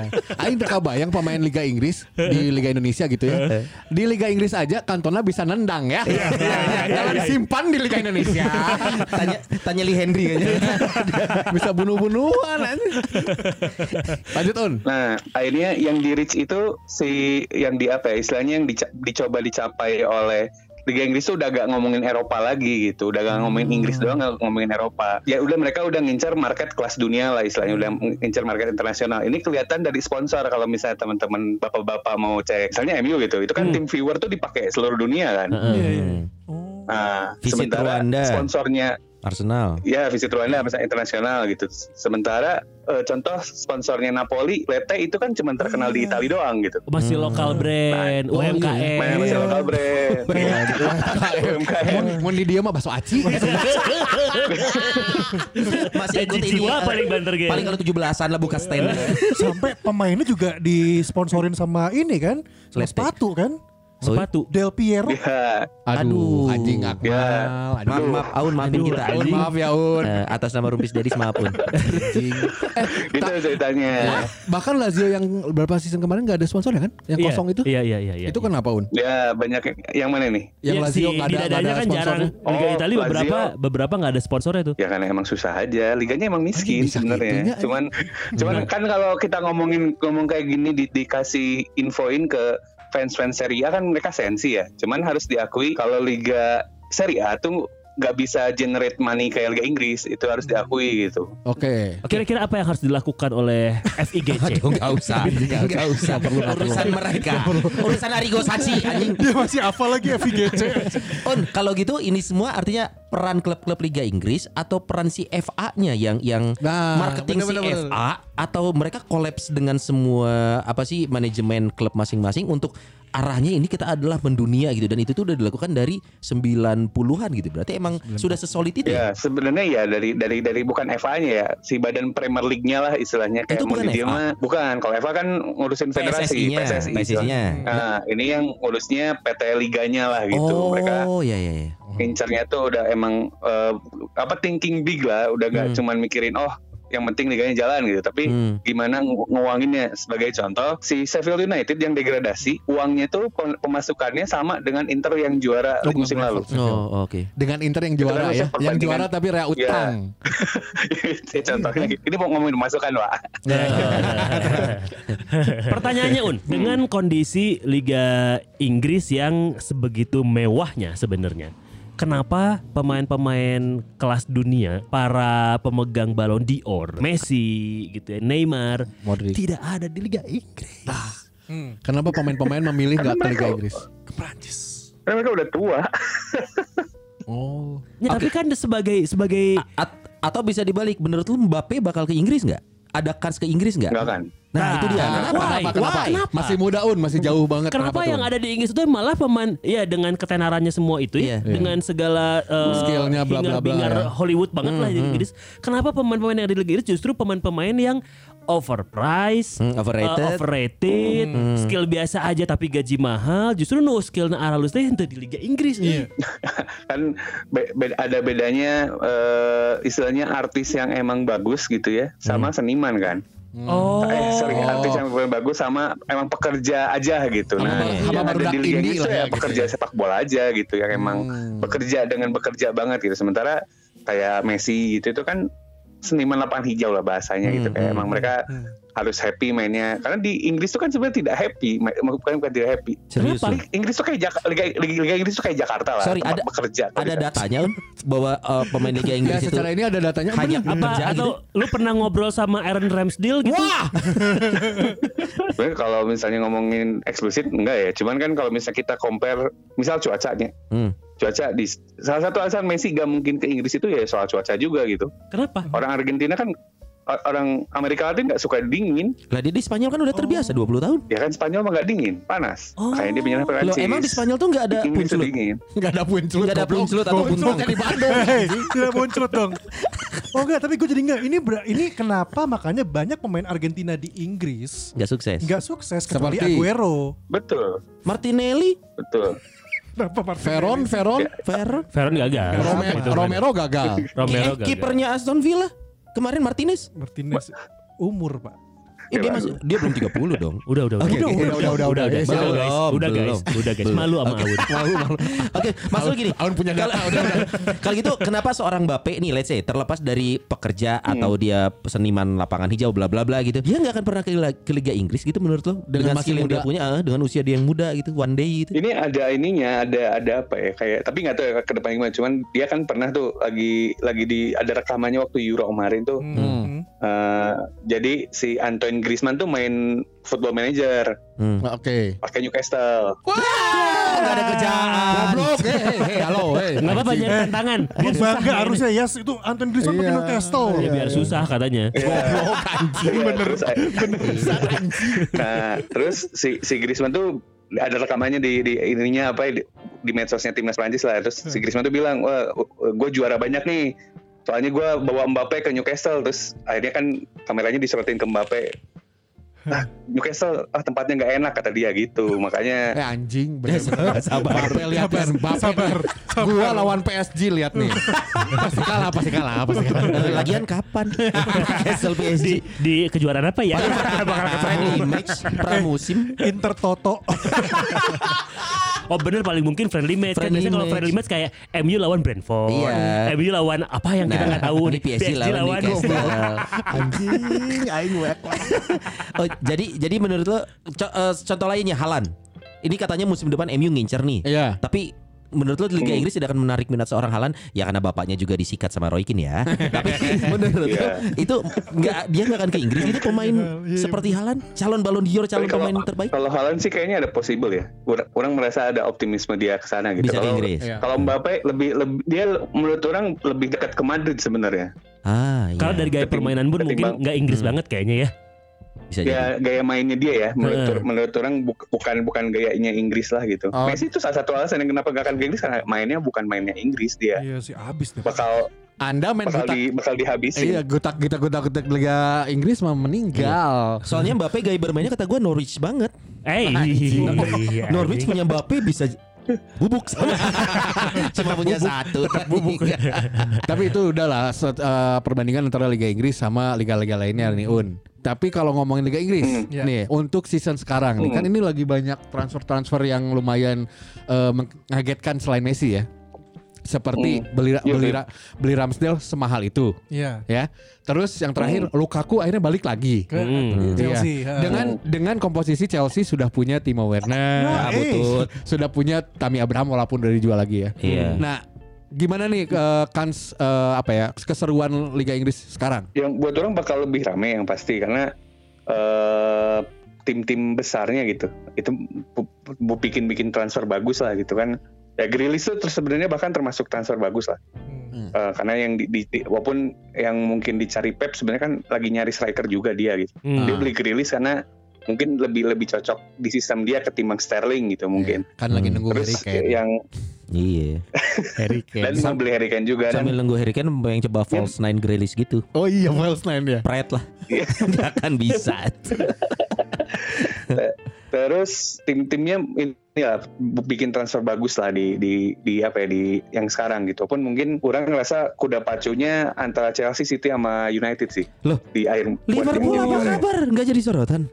Speaker 6: Aing udah kebayang pemain Liga Inggris di Liga Indonesia gitu ya. Di Liga Inggris aja Cantona bisa nendang ya. Jangan simpan di Liga Indonesia.
Speaker 5: Tanya tanya Lee Henry kayaknya.
Speaker 6: Bisa bunuh-bunuhan. anjing. Lanjut on.
Speaker 7: Nah, akhirnya yang di reach itu si yang di apa ya istilahnya yang dica- dicoba dicapai oleh Liga Inggris tuh udah gak ngomongin Eropa lagi gitu, udah gak ngomongin Inggris
Speaker 5: Hmm.
Speaker 7: doang, gak ngomongin Eropa. Ya udah mereka udah ngincar market kelas dunia lah istilahnya, udah ngincar market internasional. Ini kelihatan dari sponsor kalau misalnya teman-teman bapak-bapak mau cek, misalnya MU gitu, itu kan
Speaker 5: Hmm.
Speaker 7: tim viewer tuh dipakai seluruh dunia kan.
Speaker 3: Iya, iya.
Speaker 7: Nah,
Speaker 5: Visit
Speaker 7: sementara
Speaker 5: Rwanda.
Speaker 7: sponsornya
Speaker 5: Arsenal.
Speaker 7: Ya, visit Rwanda misalnya internasional gitu. Sementara eh, contoh sponsornya Napoli, Lete itu kan cuma terkenal di Italia doang gitu.
Speaker 2: Masih
Speaker 6: Hmm.
Speaker 2: lokal brand, UMKM.
Speaker 7: Main masih lokal brand. UMKM.
Speaker 6: Mau di dia mah bakso aci.
Speaker 5: Masih ikut
Speaker 2: Gaji
Speaker 5: ini.
Speaker 2: jiwa
Speaker 5: eh,
Speaker 2: paling banter, Gen.
Speaker 5: Paling kalau 17-an lah buka stand.
Speaker 3: Sampai pemainnya juga disponsorin sama ini kan, sama
Speaker 5: Celeste.
Speaker 3: sepatu kan.
Speaker 2: Sepatu.
Speaker 3: Del Piero.
Speaker 7: Ya,
Speaker 5: Aduh.
Speaker 6: Aduh, anjing
Speaker 2: Ya.
Speaker 6: akmal.
Speaker 5: Maaf,
Speaker 6: Aduh.
Speaker 5: maaf, Aun maafin
Speaker 2: Aduh,
Speaker 5: kita.
Speaker 6: Un,
Speaker 5: Aun.
Speaker 6: maaf ya Un.
Speaker 5: Eh, atas nama Rumpis Dadis maaf pun.
Speaker 7: gitu
Speaker 2: Eh.
Speaker 7: ceritanya.
Speaker 6: Ya. Bahkan Lazio yang berapa season kemarin gak ada sponsor ya kan? Yang
Speaker 2: Iya,
Speaker 6: kosong itu.
Speaker 2: Iya iya iya iya.
Speaker 6: Itu kenapa Un?
Speaker 7: Ya, banyak yang mana nih?
Speaker 6: Yang
Speaker 2: Iya,
Speaker 6: Lazio
Speaker 2: si
Speaker 6: gak
Speaker 2: Di
Speaker 6: ada, nggak
Speaker 2: Dadanya
Speaker 6: ada
Speaker 2: kan jarang
Speaker 6: sponsornya. Iya.
Speaker 2: Liga
Speaker 7: Oh,
Speaker 2: Italia beberapa
Speaker 7: Lazio.
Speaker 2: beberapa nggak ada sponsornya tuh.
Speaker 7: Ya karena emang susah aja, liganya emang miskin
Speaker 6: Anjing, bisa gitunya,
Speaker 7: sebenarnya.
Speaker 6: anjing.
Speaker 7: Cuman cuman kan kalau kita ngomongin ngomong kayak gini di- dikasih infoin ke fans-fans Serie A kan mereka sensi ya. Cuman harus diakui kalau liga Serie A tuh nggak bisa generate money kayak Liga Inggris, itu harus diakui gitu.
Speaker 6: Oke.
Speaker 2: Kira-kira apa yang harus dilakukan oleh FIGC?
Speaker 5: Aduh nggak usah, nggak usah perlu urusan mereka, urusan Arigo Sachi anjing.
Speaker 3: Dia masih hafal lagi FIGC.
Speaker 5: On, kalau gitu ini semua artinya peran klub-klub Liga Inggris atau peran si FA-nya yang yang
Speaker 6: Nah,
Speaker 5: marketing si
Speaker 6: bener-bener.
Speaker 5: FA atau mereka kolaps dengan semua apa sih manajemen klub masing-masing untuk arahnya ini kita adalah mendunia gitu dan itu tuh udah dilakukan dari 90-an gitu. Berarti emang sudah sesolid itu ya?
Speaker 7: Ya sebenarnya ya dari dari dari bukan FA-nya ya si badan Premier League-nya lah istilahnya
Speaker 5: Itu
Speaker 7: kayak mau
Speaker 5: bukan
Speaker 7: di dia
Speaker 5: FA.
Speaker 7: mah bukan kalau FA kan ngurusin federasi
Speaker 5: PSSI-nya,
Speaker 7: PSSI,
Speaker 5: PSSI-nya.
Speaker 7: Nah, ini yang ngurusnya PT Liganya lah gitu
Speaker 5: oh,
Speaker 7: mereka
Speaker 5: ya ya ya.
Speaker 7: incernya tuh udah emang eh, apa thinking big lah udah gak cuman mikirin oh yang penting liganya jalan gitu tapi
Speaker 5: Hmm.
Speaker 7: gimana ngu- nguanginnya sebagai contoh si Sheffield United yang degradasi uangnya tuh pem- pemasukannya sama dengan Inter yang juara
Speaker 6: Oh,
Speaker 7: musim
Speaker 6: bukan
Speaker 7: lalu
Speaker 5: Oh, oke.
Speaker 6: Dengan Inter yang juara ya.
Speaker 7: kan perbandingan.
Speaker 6: Yang juara tapi rea utang.
Speaker 2: Iya.
Speaker 7: Ya, contohnya gitu. ini mau ngomongin pemasukan pak
Speaker 2: Pertanyaannya Un, dengan kondisi Liga Inggris yang sebegitu mewahnya sebenarnya, kenapa pemain-pemain kelas dunia, para pemegang Ballon d'Or, Messi gitu ya, Neymar,
Speaker 6: Modric.
Speaker 2: tidak ada di Liga Inggris?
Speaker 6: Kenapa pemain-pemain memilih nggak ke Liga Inggris?
Speaker 7: karena mereka udah tua
Speaker 6: Oh.
Speaker 2: Ya, Tapi kan sebagai sebagai
Speaker 5: At- atau bisa dibalik, menurut lu Mbappe bakal ke Inggris nggak? Ada kans ke Inggris nggak?
Speaker 7: Nggak kan.
Speaker 5: Nah,
Speaker 2: Nah,
Speaker 5: itu dia.
Speaker 2: kenapa? Why? Why? Kenapa?
Speaker 6: Masih muda Un, masih jauh banget.
Speaker 2: Kenapa yang ada di Inggris itu malah pemain ya dengan ketenarannya semua itu ya
Speaker 5: Iya.
Speaker 2: dengan segala eh,
Speaker 6: Skillnya, bla, bla, bla,
Speaker 2: hingar-bingar
Speaker 6: ya.
Speaker 2: Hollywood banget lah di Inggris. Kenapa pemain-pemain yang ada di Liga Inggris justru pemain-pemain yang overpriced,
Speaker 6: Mm,
Speaker 5: Hmm, overrated.
Speaker 2: eh, overrated,
Speaker 6: Mm-hmm.
Speaker 2: skill biasa aja tapi gaji mahal, justru no skill na aralus teh henteu di Liga Inggris.
Speaker 7: kan be- be- ada bedanya eh, istilahnya artis yang emang bagus gitu ya sama seniman kan
Speaker 2: Oh.
Speaker 7: eh sorry artis yang emang bagus sama emang pekerja aja gitu
Speaker 5: Sama
Speaker 7: nah
Speaker 5: bar-
Speaker 6: sama
Speaker 7: yang ada
Speaker 6: barudak
Speaker 7: di Liga
Speaker 6: indie
Speaker 7: Inggris
Speaker 6: lah ya
Speaker 7: tuh ya
Speaker 6: gitu
Speaker 7: pekerja
Speaker 6: ya.
Speaker 7: sepak bola aja gitu yang emang bekerja dengan bekerja banget gitu sementara kayak Messi gitu itu kan seniman lapangan hijau lah bahasanya gitu kayak emang mereka harus happy mainnya karena di Inggris tuh kan sebenarnya tidak happy ma- bukan bukan tidak happy
Speaker 5: Serius,
Speaker 7: Tapi Inggris tuh kayak Jak- Liga, Liga, Liga Inggris tuh kayak Jakarta lah
Speaker 5: Sorry,
Speaker 7: tempat
Speaker 5: ada-
Speaker 7: bekerja
Speaker 5: Ada datanya Un, bahwa eh, pemain Liga
Speaker 6: Enggak,
Speaker 5: Inggris itu
Speaker 6: secara gitu. ini ada datanya
Speaker 5: hanya
Speaker 6: bener.
Speaker 2: apa
Speaker 5: pekerja
Speaker 2: atau
Speaker 5: gitu.
Speaker 2: lu pernah ngobrol sama Aaron Ramsdale gitu?
Speaker 5: Wah,
Speaker 7: Sebenarnya kalau misalnya ngomongin eksplisit enggak ya cuman kan kalau misalnya kita compare misal cuacanya
Speaker 5: Hmm.
Speaker 7: cuaca di salah satu alasan Messi gak mungkin ke Inggris itu ya soal cuaca juga gitu
Speaker 5: Hmm.
Speaker 2: Kenapa?
Speaker 7: orang Argentina kan o- orang Amerika Latin nggak suka dingin
Speaker 5: lah dia di Spanyol kan udah terbiasa 20 tahun.
Speaker 7: ya kan Spanyol mah nggak dingin panas
Speaker 2: Oh.
Speaker 7: makanya dia pindah
Speaker 5: Loh,
Speaker 7: Perancis
Speaker 5: emang di Spanyol tuh nggak ada
Speaker 7: Inggris tuh
Speaker 5: puncelut?
Speaker 7: dingin
Speaker 6: Enggak ada puncelut.
Speaker 5: Nggak ada
Speaker 6: goblok.
Speaker 5: puncelut atau
Speaker 6: Goblok
Speaker 5: buntong.
Speaker 6: yang di Bandung.
Speaker 3: Hei, tidak muncul dong. Oh enggak, tapi gue jadi enggak. Ini ber- ini kenapa makanya banyak pemain Argentina di Inggris
Speaker 5: Nggak sukses.
Speaker 3: enggak sukses kecuali
Speaker 6: Seperti-
Speaker 3: Aguero.
Speaker 7: betul
Speaker 5: Martinelli,
Speaker 7: betul
Speaker 3: Kenapa Martinelli?
Speaker 6: Veron, Veron,
Speaker 5: Fer,
Speaker 2: Veron gagal.
Speaker 6: Rome-
Speaker 2: Iya. Itu bener.
Speaker 6: Romero gagal.
Speaker 2: Romero
Speaker 5: eh,
Speaker 2: gagal.
Speaker 5: kipernya Aston Villa kemarin Martinez.
Speaker 3: Martinez umur, Pak.
Speaker 5: Eh, dia
Speaker 7: Ya,
Speaker 5: masih dia belum 30 dong.
Speaker 2: Udah udah udah.
Speaker 5: Oke, oke,
Speaker 6: udah, udah, udah,
Speaker 2: guys.
Speaker 5: udah.
Speaker 2: Udah Eh, guys.
Speaker 5: Belum,
Speaker 2: Udah guys.
Speaker 5: belum.
Speaker 2: Udah guys. Malu sama Aun.
Speaker 5: Malu, malu. Oke, Mas Lu gini.
Speaker 6: Aun punya data.
Speaker 5: Kalau- Kalau gitu kenapa seorang Bape nih let's say terlepas dari pekerja atau dia seniman lapangan hijau bla bla bla gitu. Dia nggak akan pernah ke Liga, ke Liga Inggris gitu menurut lo dengan,
Speaker 6: Dengan masih
Speaker 5: skill yang
Speaker 6: muda.
Speaker 5: dia punya eh, dengan usia dia yang muda gitu one day gitu.
Speaker 7: Ini ada ininya, ada ada apa ya kayak tapi nggak tahu ya ke depan gimana. Cuman dia kan pernah tuh lagi lagi di ada rekamannya waktu Euro kemarin tuh.
Speaker 3: Hmm.
Speaker 7: Eh, jadi si Antoine Griezmann tuh main Football Manager
Speaker 5: Hmm.
Speaker 6: Nah, Oke.
Speaker 7: pakai Newcastle.
Speaker 5: Nggak ada kerjaan.
Speaker 6: Goblok. Hei, hei, hei, halo, hei.
Speaker 2: Enggak apa-apa nyari tantangan.
Speaker 3: Lu bangga harusnya ya yes, itu Anton Griezmann pakai
Speaker 6: Iya.
Speaker 3: Newcastle.
Speaker 2: Ya, biar susah katanya.
Speaker 7: Iya, terus, nah, terus si si Griezmann tuh ada rekamannya di, di ininya apa ya, di, di medsosnya timnas Prancis lah. Terus si Griezmann tuh bilang, wah gue juara banyak nih. Soalnya gue bawa Mbappe ke Newcastle. Terus akhirnya kan kameranya diserotin ke Mbappe. Ah, Newcastle ah tempatnya nggak enak kata dia gitu. Makanya
Speaker 6: Eh anjing, bener
Speaker 5: sabar, sabar.
Speaker 6: Bape lihat ya, Bape.
Speaker 3: Sabar, sabar.
Speaker 6: Gua lawan PSG lihat nih. pasti kalah, pasti kalah, pasti kalah.
Speaker 5: Eh, Lagian kapan? Castle
Speaker 2: Di,
Speaker 5: PSG.
Speaker 2: di kejuaraan apa ya?
Speaker 5: Bakal friendly match pramusim.
Speaker 3: Inter Toto.
Speaker 2: Oh bener paling mungkin friendly match. Kan
Speaker 5: Friendly
Speaker 2: biasanya kalau
Speaker 5: match.
Speaker 2: friendly match kayak MU lawan Brentford.
Speaker 5: Iya.
Speaker 2: MU lawan apa yang kita
Speaker 5: Nah,
Speaker 2: nggak tahu.
Speaker 5: ini PSG lawan Newcastle.
Speaker 6: Anjing, aing wek.
Speaker 5: Oh, jadi jadi menurut lo co- eh, contoh lainnya Halan. Ini katanya musim depan MU ngincer nih.
Speaker 6: Iya.
Speaker 5: Tapi menurut lo Liga Inggris tidak akan menarik minat seorang Halan ya karena bapaknya juga disikat sama Roy Keane ya. Tapi menurut lo
Speaker 7: Iya.
Speaker 5: itu nggak dia nggak akan ke Inggris itu pemain seperti Halan, calon Ballon d'Or, calon
Speaker 7: Tapi kalau- Iya,
Speaker 5: pemain terbaik.
Speaker 7: Kalau Haaland sih kayaknya ada possible ya. Orang, orang merasa ada optimisme dia ke sana gitu.
Speaker 5: Bisa ke
Speaker 7: kalau
Speaker 5: Inggris.
Speaker 6: Iya.
Speaker 7: kalau Mbappe lebih, lebih dia menurut orang lebih dekat ke Madrid sebenarnya.
Speaker 5: Ah, iya.
Speaker 2: Kalau dari gaya
Speaker 7: Ketimbang-
Speaker 2: permainan pun mungkin
Speaker 7: ketimbang-
Speaker 2: nggak Inggris banget kayaknya ya.
Speaker 5: bisa jadi.
Speaker 7: Ya gaya mainnya dia ya menurut
Speaker 2: Heeh.
Speaker 7: menurut orang buk- bukan bukan gayanya Inggris lah gitu.
Speaker 6: Oh.
Speaker 7: Messi itu salah satu alasan yang kenapa gak akan ke Inggris karena mainnya bukan mainnya Inggris dia.
Speaker 3: Iya sih habis deh.
Speaker 7: Bakal
Speaker 6: Anda main
Speaker 7: bakal
Speaker 6: gutak.
Speaker 7: di bakal dihabisin.
Speaker 6: Iya, gutak kita gutak gutak Liga Inggris mah meninggal.
Speaker 5: Soalnya Mbappe gaya bermainnya kata gue Norwich banget.
Speaker 2: Eh, iya,
Speaker 5: Norwich
Speaker 2: anjing.
Speaker 5: punya Mbappe bisa bubuk sama. Cuma punya satu. bubuk.
Speaker 6: Tapi itu udahlah set- eh, perbandingan antara Liga Inggris sama liga-liga lainnya nih Un. Tapi kalau ngomongin Liga Inggris
Speaker 3: Iya.
Speaker 6: nih untuk season sekarang nih
Speaker 7: Hmm.
Speaker 6: kan ini lagi banyak transfer-transfer yang lumayan eh, mengagetkan selain Messi ya. Seperti
Speaker 7: Hmm.
Speaker 6: beli
Speaker 7: Iya,
Speaker 6: beli beli Ramsdale semahal itu
Speaker 3: Iya.
Speaker 6: ya. Terus yang terakhir
Speaker 7: Hmm.
Speaker 6: Lukaku akhirnya balik lagi.
Speaker 3: Ke Ya.
Speaker 2: Hmm.
Speaker 3: Chelsea.
Speaker 6: Iya.
Speaker 3: ha.
Speaker 6: Dengan dengan komposisi Chelsea sudah punya Timo Werner,
Speaker 3: Nah, eh.
Speaker 6: Iya, betul. Sudah punya Tammy Abraham walaupun udah dijual lagi ya.
Speaker 5: Iya.
Speaker 6: Nah, gimana nih eh, kans eh, apa ya keseruan Liga Inggris sekarang?
Speaker 7: Yang buat orang bakal lebih rame yang pasti karena eh, tim-tim besarnya gitu. Itu bu- bu- bikin-bikin transfer bagus lah gitu kan. Ya Grilis tuh terus sebenarnya bahkan termasuk transfer bagus lah.
Speaker 3: Hmm.
Speaker 7: Eh, karena yang di, di- di- walaupun yang mungkin dicari Pep sebenarnya kan lagi nyari striker juga dia gitu.
Speaker 2: Hmm.
Speaker 7: Dia beli Grilis karena mungkin lebih lebih cocok di sistem dia ketimbang Sterling gitu mungkin.
Speaker 6: Kan lagi nunggu Harry
Speaker 7: Terus
Speaker 6: Kane.
Speaker 7: yang
Speaker 5: Iya.
Speaker 6: Harry
Speaker 7: dan
Speaker 6: Kane.
Speaker 7: mau beli Harry Kane juga
Speaker 5: Sambil
Speaker 7: dan
Speaker 5: nunggu Harry Kane yang
Speaker 6: Iya.
Speaker 5: coba false nine Grealish gitu.
Speaker 6: Oh iya, Wales Nine ya.
Speaker 5: Pret lah.
Speaker 7: Iya.
Speaker 5: Gak akan bisa.
Speaker 7: terus tim-timnya ini ya bikin transfer bagus lah di di di apa ya di yang sekarang gitu. Pun mungkin orang ngerasa kuda pacunya antara Chelsea City sama United sih.
Speaker 5: Loh?
Speaker 7: Di air buat
Speaker 5: Liverpool
Speaker 6: Iya.
Speaker 7: tim-tim
Speaker 5: apa
Speaker 7: juara.
Speaker 5: kabar? Gak jadi sorotan.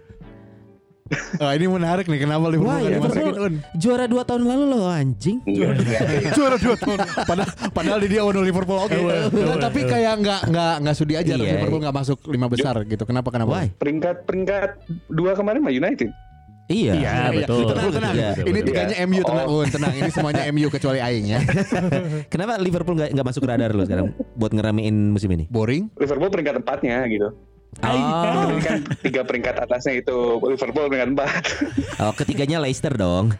Speaker 6: Oh, ini menarik nih kenapa Liverpool
Speaker 5: Wah, ya,
Speaker 6: nggak dimasukin
Speaker 5: Liverpool
Speaker 6: Un?
Speaker 5: juara 2 tahun lalu loh anjing.
Speaker 7: Iya.
Speaker 6: Juara 2 tahun. Padahal padahal di dia ono Liverpool oke. Nah, tapi kayak nggak nggak nggak sudi aja terus
Speaker 5: Iya.
Speaker 6: Liverpool nggak masuk lima besar gitu. Kenapa kenapa?
Speaker 5: Why?
Speaker 7: peringkat peringkat dua kemarin mah United.
Speaker 5: Iya.
Speaker 2: Iya,
Speaker 6: Iya, iya.
Speaker 2: betul.
Speaker 6: Tenang, tenang.
Speaker 5: Iya,
Speaker 2: Betul,
Speaker 6: ini
Speaker 2: betul.
Speaker 6: tiganya MU tenang,
Speaker 7: Oh.
Speaker 6: Un, tenang. Ini semuanya MU kecuali aing ya.
Speaker 5: Kenapa Liverpool nggak nggak masuk radar lo sekarang buat ngeramein musim ini?
Speaker 6: Boring.
Speaker 7: Liverpool peringkat empatnya gitu.
Speaker 5: Oh,
Speaker 7: Kan tiga peringkat atasnya itu Liverpool peringkat empat.
Speaker 5: oh, ketiganya Leicester dong.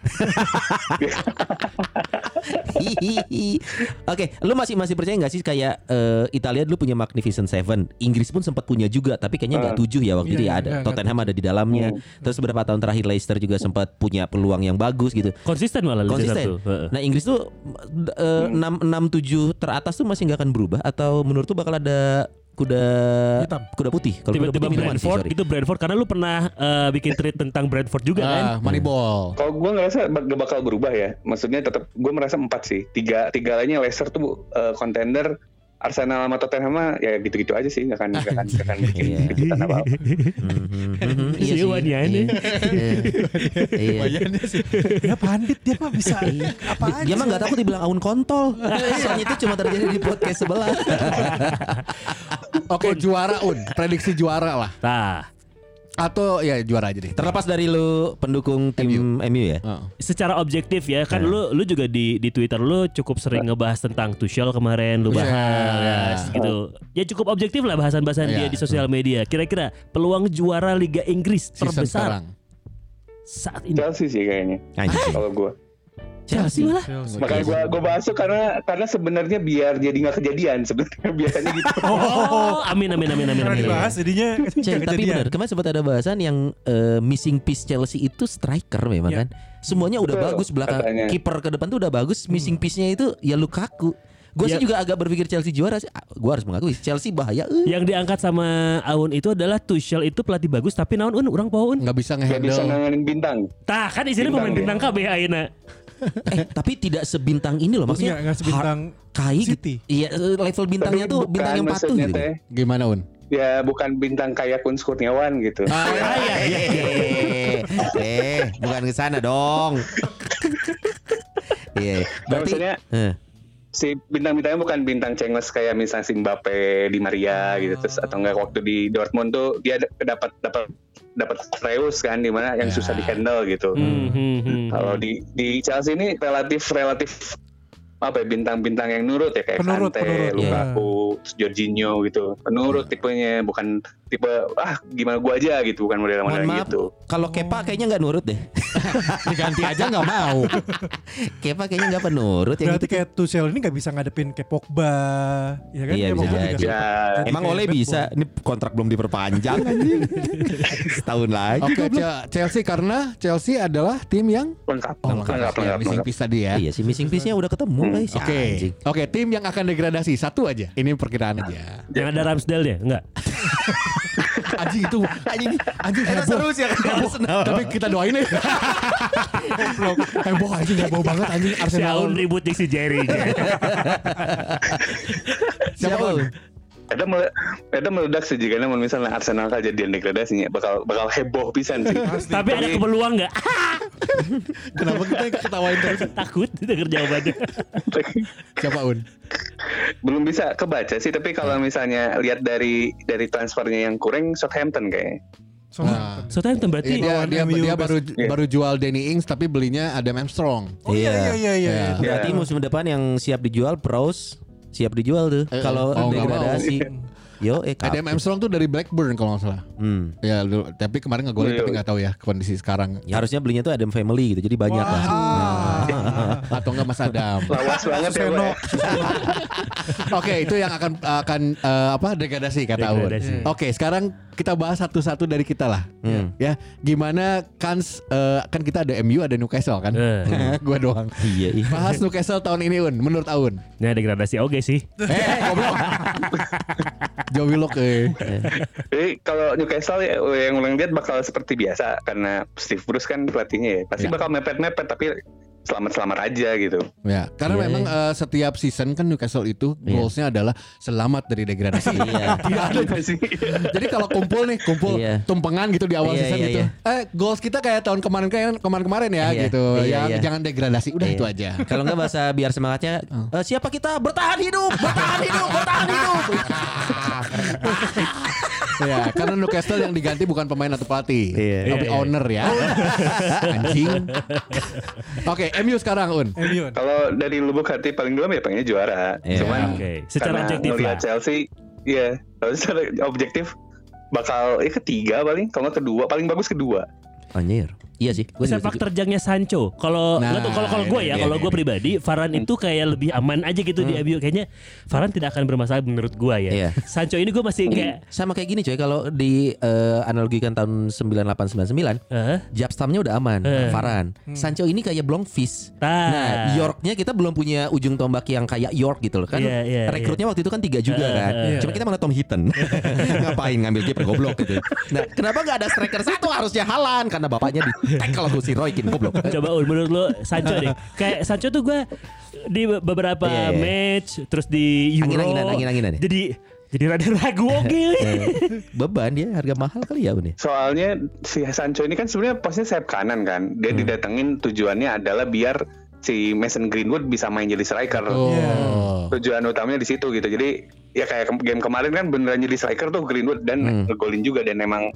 Speaker 5: Hihihi. Oke, lu masih masih percaya nggak sih kayak eh, Italia dulu punya Magnificent Seven, Inggris pun sempat punya juga, tapi kayaknya nggak tujuh ya waktu
Speaker 3: Iya,
Speaker 5: itu ya
Speaker 3: iya,
Speaker 5: ada
Speaker 3: nggak- nggak
Speaker 5: Tottenham ada di dalamnya. Terus beberapa tahun terakhir Leicester juga sempat punya peluang yang bagus gitu.
Speaker 2: Konsisten malah Leicester tuh.
Speaker 5: Konsisten.
Speaker 2: Heeh.
Speaker 5: Nah Inggris tuh d- eh, enam enam tujuh teratas tuh masih nggak akan berubah atau menurut tuh bakal ada kuda
Speaker 3: Hitam.
Speaker 5: kuda putih kalau kuda
Speaker 2: Tiba-tiba
Speaker 5: putih minuman sih
Speaker 2: Brentford
Speaker 5: sorry.
Speaker 2: itu Brentford karena lu pernah eh, bikin tweet tentang Brentford juga kan?
Speaker 6: Ah, Moneyball.
Speaker 7: Kalau gue ngerasa bak- gak bakal berubah ya. Maksudnya tetap gue merasa empat sih. Tiga tiga lainnya Leicester tuh eh, contender. Arsenal sama Tottenham mah ya gitu-gitu aja sih. Gak akan nggak akan nggak akan bikin
Speaker 5: Iya.
Speaker 7: kejutan apa apa.
Speaker 5: Mhm, mhm, Iya
Speaker 2: Si
Speaker 5: sih.
Speaker 2: Iwan ya ini.
Speaker 5: Iya. Iya.
Speaker 3: Ya pandit dia mah bisa apa aja.
Speaker 5: Dia mah nggak takut dibilang Aun kontol. Soalnya itu cuma terjadi di podcast sebelah.
Speaker 6: Oke, juara Un. Prediksi juara lah.
Speaker 2: Nah,
Speaker 6: Atau ya juara aja deh.
Speaker 5: Terlepas dari lu pendukung tim MU, ya.
Speaker 6: Heeh.
Speaker 2: secara objektif ya
Speaker 6: Iya.
Speaker 2: kan lu lu juga di di Twitter lu cukup sering ngebahas tentang Tuchel kemarin lu
Speaker 6: Tuchel,
Speaker 2: bahas gitu. Ya cukup objektif lah bahasan-bahasan dia
Speaker 6: Iya.
Speaker 2: di sosial media. Kira-kira peluang juara Liga Inggris
Speaker 6: Season
Speaker 2: terbesar
Speaker 6: sekarang.
Speaker 2: saat ini
Speaker 7: Chelsea sih kayaknya.
Speaker 5: Anjing.
Speaker 7: Kalau gue.
Speaker 5: Chelsea malah.
Speaker 7: Makanya gue gue bahas tuh karena karena sebenarnya biar jadi nggak kejadian sebenarnya biasanya gitu.
Speaker 2: Oh, amin amin amin amin.
Speaker 3: Karena
Speaker 2: amin.
Speaker 3: dibahas jadinya
Speaker 5: Cek,
Speaker 3: nggak
Speaker 5: tapi
Speaker 3: kejadian.
Speaker 5: benar kemarin sempat ada bahasan yang eh, missing piece Chelsea itu striker memang kan semuanya udah
Speaker 7: Betul,
Speaker 5: bagus belakang
Speaker 7: katanya.
Speaker 5: kiper ke depan tuh udah bagus missing piece-nya itu ya Lukaku gue sih
Speaker 2: Ya.
Speaker 5: juga agak berpikir Chelsea juara sih Ah, gue harus mengakui Chelsea bahaya eh.
Speaker 2: Yang diangkat sama Aun itu adalah Tuchel itu pelatih bagus tapi naon Un orang pohon.
Speaker 6: nggak bisa
Speaker 7: Gak
Speaker 6: ngehandle.
Speaker 7: bisa nanganin bintang.
Speaker 2: Tah kan isinya pemain bintang
Speaker 7: Bintang
Speaker 2: KB Aina.
Speaker 5: eh tapi tidak sebintang ini loh
Speaker 3: Maksudnya
Speaker 5: maksudnya
Speaker 3: nggak sebintang
Speaker 5: ha- kai gitu.
Speaker 3: City.
Speaker 5: iya eh, level bintangnya
Speaker 7: Tapi
Speaker 5: tuh
Speaker 7: bukan,
Speaker 5: bintang yang patuh
Speaker 7: maksudnya
Speaker 5: gitu
Speaker 7: teh,
Speaker 6: Gimana Un?
Speaker 7: ya bukan bintang kayak Kun Kurniawan gitu.
Speaker 5: Eh, eh bukan ke sana dong iya berarti
Speaker 7: Maksudnya
Speaker 5: eh,
Speaker 7: si bintang-bintangnya bukan bintang cengles kayak misalnya si Mbappe, Di Maria gitu terus atau enggak waktu di Dortmund tuh dia d- dapat dapat dapat Reus kan di mana yang
Speaker 6: Ya.
Speaker 7: susah dihandle gitu.
Speaker 2: Hmm, hmm, hmm.
Speaker 7: Kalau di di Chelsea ini relatif relatif apa ya bintang-bintang yang nurut ya kayak
Speaker 3: Penurut,
Speaker 7: Kante,
Speaker 3: penurut,
Speaker 7: Lukaku, terus Jorginho gitu. Penurut tipenya bukan tipe ah gimana gua aja gitu bukan
Speaker 5: mohon
Speaker 7: model-model
Speaker 5: maaf
Speaker 7: gitu.
Speaker 5: kalau Kepa kayaknya nggak nurut deh
Speaker 6: Diganti aja nggak mau.
Speaker 5: Kepa kayaknya nggak penurut yang
Speaker 3: Berarti
Speaker 5: gitu.
Speaker 3: kayak Tuchel ini nggak bisa ngadepin kayak Pogba, ya kan?
Speaker 5: Iya,
Speaker 3: Dia
Speaker 5: bisa
Speaker 3: maksudnya
Speaker 5: jadi. Iya.
Speaker 3: juga-
Speaker 7: Ya,
Speaker 5: Emang
Speaker 3: Kayak
Speaker 5: oleh
Speaker 3: Deadpool.
Speaker 5: bisa, ini kontrak belum diperpanjang Setahun lagi
Speaker 6: Oke, Ce- Chelsea karena Chelsea adalah tim yang
Speaker 7: lengkap,
Speaker 6: Oh,
Speaker 7: lengkap, lengkap,
Speaker 6: ya,
Speaker 7: lengkap,
Speaker 6: missing
Speaker 7: lengkap.
Speaker 6: piece tadi ya.
Speaker 5: Iya sih missing piece-nya udah ketemu guys Ya,
Speaker 6: Oke, oke tim yang akan degradasi satu aja. Ini perkiraan aja.
Speaker 2: Yang ada Ramsdale ya? Enggak.
Speaker 6: Anjing itu, anjing, anjing heboh.
Speaker 5: sih akan Arsenal
Speaker 6: Tapi kita doain ya. heboh anjing, heboh banget anjing
Speaker 2: Si
Speaker 6: Arsenal.
Speaker 2: Aun ribut di si Jerry.
Speaker 5: Siapa?
Speaker 6: Un?
Speaker 7: Ada mele- ada meledak sih jika namun misalnya Arsenal kejadian degradasinya bakal bakal heboh pisan sih.
Speaker 2: tapi ada kepeluang enggak?
Speaker 6: Kenapa kita yang ketawain terus?
Speaker 2: Takut denger jawabannya.
Speaker 6: Siapa Un?
Speaker 7: Belum bisa kebaca sih tapi kalau misalnya lihat dari dari transfernya yang kurang Southampton kayaknya.
Speaker 3: Soalnya
Speaker 6: Nah.
Speaker 2: Southampton
Speaker 6: Iya,
Speaker 2: berarti
Speaker 6: dia,
Speaker 3: lawan
Speaker 6: dia,
Speaker 3: MU
Speaker 6: dia baru
Speaker 7: Iya.
Speaker 6: baru jual Danny Ings tapi belinya Adam Armstrong.
Speaker 3: Oh
Speaker 5: Iya.
Speaker 3: iya iya iya iya.
Speaker 6: Iya.
Speaker 7: Ya.
Speaker 5: Berarti musim depan yang siap dijual Pros Siap dijual tuh
Speaker 6: Eh,
Speaker 5: Kalau
Speaker 6: oh, nggak
Speaker 5: degradasi Yo eh
Speaker 6: Adam
Speaker 5: kapten.
Speaker 6: Armstrong tuh dari Blackburn kalau nggak salah.
Speaker 5: Hmm.
Speaker 6: Ya, dulu- tapi kemarin nggak golin
Speaker 7: Iya.
Speaker 6: tapi nggak tahu ya kondisi sekarang.
Speaker 5: Ya, harusnya belinya tuh Adam Family gitu Jadi banyak lah Ah.
Speaker 6: Atau nggak Mas Adam.
Speaker 7: Lawas banget ya. Pak,
Speaker 3: Suseno,
Speaker 7: ya.
Speaker 6: Oke, itu yang akan akan eh, apa degradasi kata Aun.
Speaker 2: Degradasi.
Speaker 6: Oke, sekarang kita bahas satu-satu dari kita lah.
Speaker 5: Hmm.
Speaker 6: Ya, gimana kans eh, kan kita ada MU ada Newcastle kan?
Speaker 2: Eh.
Speaker 6: Gua doang.
Speaker 5: Iya iya
Speaker 6: Bahas Newcastle tahun ini Un, menurut Aun.
Speaker 2: Nah degradasi oke sih.
Speaker 6: Eh, goblok. Jowi Lok eh.
Speaker 7: Jadi kalau Newcastle ya, yang ulang lihat bakal seperti biasa karena Steve Bruce kan pelatihnya ya. Pasti
Speaker 6: Ya.
Speaker 7: bakal mepet-mepet tapi selamat-selamat aja gitu.
Speaker 6: Ya, karena
Speaker 5: Iya,
Speaker 6: memang
Speaker 5: iya.
Speaker 6: eh, setiap season kan Newcastle itu
Speaker 5: Iya.
Speaker 6: goalsnya adalah selamat dari degradasi. Tidak ada
Speaker 7: Gitu sih.
Speaker 6: Jadi kalau kumpul nih, kumpul
Speaker 5: Iya.
Speaker 6: tumpengan gitu di awal
Speaker 5: Iya,
Speaker 6: season
Speaker 5: iya,
Speaker 6: gitu.
Speaker 5: iya.
Speaker 6: Eh, goals kita kayak tahun kemarin kan kemarin kemarin ya
Speaker 5: Iya,
Speaker 6: gitu.
Speaker 5: iya,
Speaker 6: ya
Speaker 5: iya.
Speaker 6: jangan degradasi, udah
Speaker 5: Iya.
Speaker 6: itu aja.
Speaker 5: Kalau nggak bahasa biar semangatnya
Speaker 6: Oh.
Speaker 5: eh, siapa kita bertahan hidup, bertahan hidup, bertahan hidup.
Speaker 6: ya, karena Newcastle yang diganti bukan pemain atau pelatih,
Speaker 5: Iya.
Speaker 6: tapi
Speaker 2: Iya, iya.
Speaker 6: owner ya. Anjing. Oke, MU sekarang Un.
Speaker 3: Emion.
Speaker 7: Kalau dari lubuk hati paling dalam ya pengennya juara.
Speaker 5: Iya.
Speaker 7: Cuman
Speaker 6: Hmm.
Speaker 2: Oke, secara
Speaker 7: karena
Speaker 2: objektif ya.
Speaker 7: ngelihat
Speaker 2: lah.
Speaker 7: Chelsea, iya, kalau secara objektif bakal ya ketiga paling, kalau nggak kedua, paling bagus kedua.
Speaker 5: Anjir. Iya sih. Gua juga
Speaker 2: sepak
Speaker 5: setuju.
Speaker 2: terjangnya Sancho. Kalau
Speaker 6: Nah,
Speaker 2: nggak
Speaker 6: iya. Hmm.
Speaker 2: tahu, kalau kalau gue
Speaker 6: ini
Speaker 2: ya,
Speaker 6: dia,
Speaker 2: kalau
Speaker 6: ini
Speaker 2: gue
Speaker 6: dia.
Speaker 2: pribadi, Varane itu kayak lebih aman aja gitu
Speaker 6: Hmm.
Speaker 2: di MU. Kayaknya Varane tidak akan bermasalah menurut gue ya.
Speaker 5: Iya.
Speaker 2: Sancho ini gue masih kayak
Speaker 5: Sama kayak gini coy kalau di eh, analogikan tahun 9899
Speaker 2: eh,
Speaker 5: Japstamnya udah aman,
Speaker 2: Eh.
Speaker 5: Varan. Sancho ini kayak Blomqvist.
Speaker 2: Tah.
Speaker 5: Nah, Yorknya kita belum punya ujung tombak yang kayak York gitu loh kan.
Speaker 2: Iya, iya,
Speaker 5: rekrutnya waktu itu kan tiga juga
Speaker 2: Eh,
Speaker 5: kan.
Speaker 2: eh.
Speaker 5: Cuma kita malah Tom Hinton. Ngapain ngambil kiper goblok gitu. Nah, kenapa nggak ada striker satu harusnya Halan karena bapaknya di tackle sama si Roykin goblok.
Speaker 2: Coba Un, menurut lo Sancho deh. Kayak Sancho tuh gue di beberapa
Speaker 5: Iya, iya.
Speaker 2: match terus di Euro.
Speaker 5: Angin-anginan, angin-anginan ya?
Speaker 2: Jadi jadi rada ragu oke.
Speaker 5: Eh, Beban dia harga mahal kali ya Bun ya.
Speaker 7: Soalnya si Sancho ini kan sebenarnya posnya sayap kanan kan. Dia
Speaker 2: Hmm.
Speaker 7: didatengin tujuannya adalah biar si Mason Greenwood bisa main jadi striker.
Speaker 3: Iya.
Speaker 6: Oh.
Speaker 7: Tujuan utamanya di situ gitu. Jadi ya kayak ke- game kemarin kan beneran jadi striker tuh Greenwood dan ngegolin juga dan emang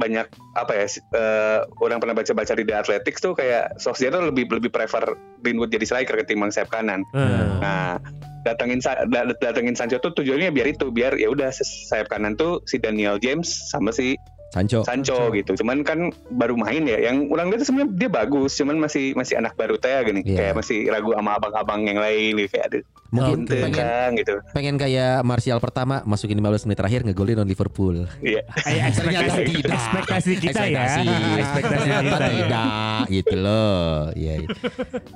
Speaker 7: banyak apa ya si- eh, orang pernah baca-baca di The Athletics tuh kayak Solskjaer tuh lebih lebih prefer Greenwood jadi striker ketimbang sayap kanan.
Speaker 2: Hmm.
Speaker 7: Nah, datengin Sa- da- datengin Sancho tuh tujuannya biar itu biar ya udah se- sayap kanan tuh si Daniel James sama si
Speaker 5: Oh, Sancho.
Speaker 7: Sancho gitu. Cuman kan baru main ya. Yang orang lihat tuh sebenarnya dia bagus, cuman masih masih anak baru teh gini.
Speaker 5: Iya.
Speaker 7: Kayak masih ragu sama abang-abang yang lain gitu. kayak aduh.
Speaker 5: Mungkin
Speaker 7: ente,
Speaker 5: pengen
Speaker 7: Kang, gitu.
Speaker 5: pengen kayak Martial pertama masukin 15 menit terakhir ngegolin on Liverpool.
Speaker 7: Iya.
Speaker 2: Kayak
Speaker 5: Ternyata
Speaker 2: ekspektasi,
Speaker 5: tidak.
Speaker 2: ekspektasi kita ya.
Speaker 5: Ekspektasi.
Speaker 2: Ekspektasi
Speaker 5: Ternyata
Speaker 2: kita ya.
Speaker 5: tidak gitu loh. Iya. iya.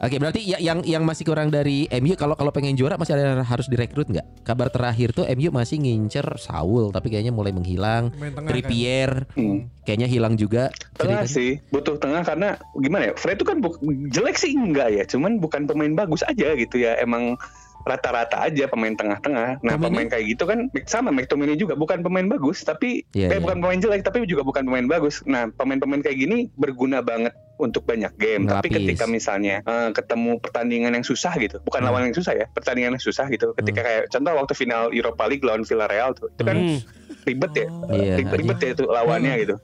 Speaker 5: Oke, berarti ya- yang yang masih kurang dari MU kalau kalau pengen juara masih ada yang harus direkrut nggak? Kabar terakhir tuh MU masih ngincer Saul tapi kayaknya mulai menghilang.
Speaker 3: Main tengah kan.
Speaker 5: Trippier
Speaker 7: Hmm.
Speaker 5: kayaknya hilang juga.
Speaker 7: Tengah
Speaker 5: Jadi kan-
Speaker 7: sih, butuh tengah karena gimana ya? Fred itu kan bu- jelek sih enggak ya, cuman bukan pemain bagus aja gitu ya. Emang rata-rata aja pemain tengah-tengah. Nah,
Speaker 5: Tomini?
Speaker 7: pemain kayak gitu kan sama McTominay juga bukan pemain bagus, tapi
Speaker 5: Iya,
Speaker 7: eh
Speaker 5: iya.
Speaker 7: bukan pemain jelek tapi juga bukan pemain bagus. Nah, pemain-pemain kayak gini berguna banget untuk banyak game. Tapi
Speaker 5: Melapis.
Speaker 7: ketika misalnya eh, ketemu pertandingan yang susah gitu, bukan
Speaker 5: Hmm.
Speaker 7: lawan yang susah ya, pertandingan yang susah gitu. Ketika kayak contoh waktu final Europa League lawan Villarreal tuh, itu kan
Speaker 2: Hmm.
Speaker 7: ribet ya,
Speaker 5: Iya, Hmm.
Speaker 7: ribet ya itu lawannya gitu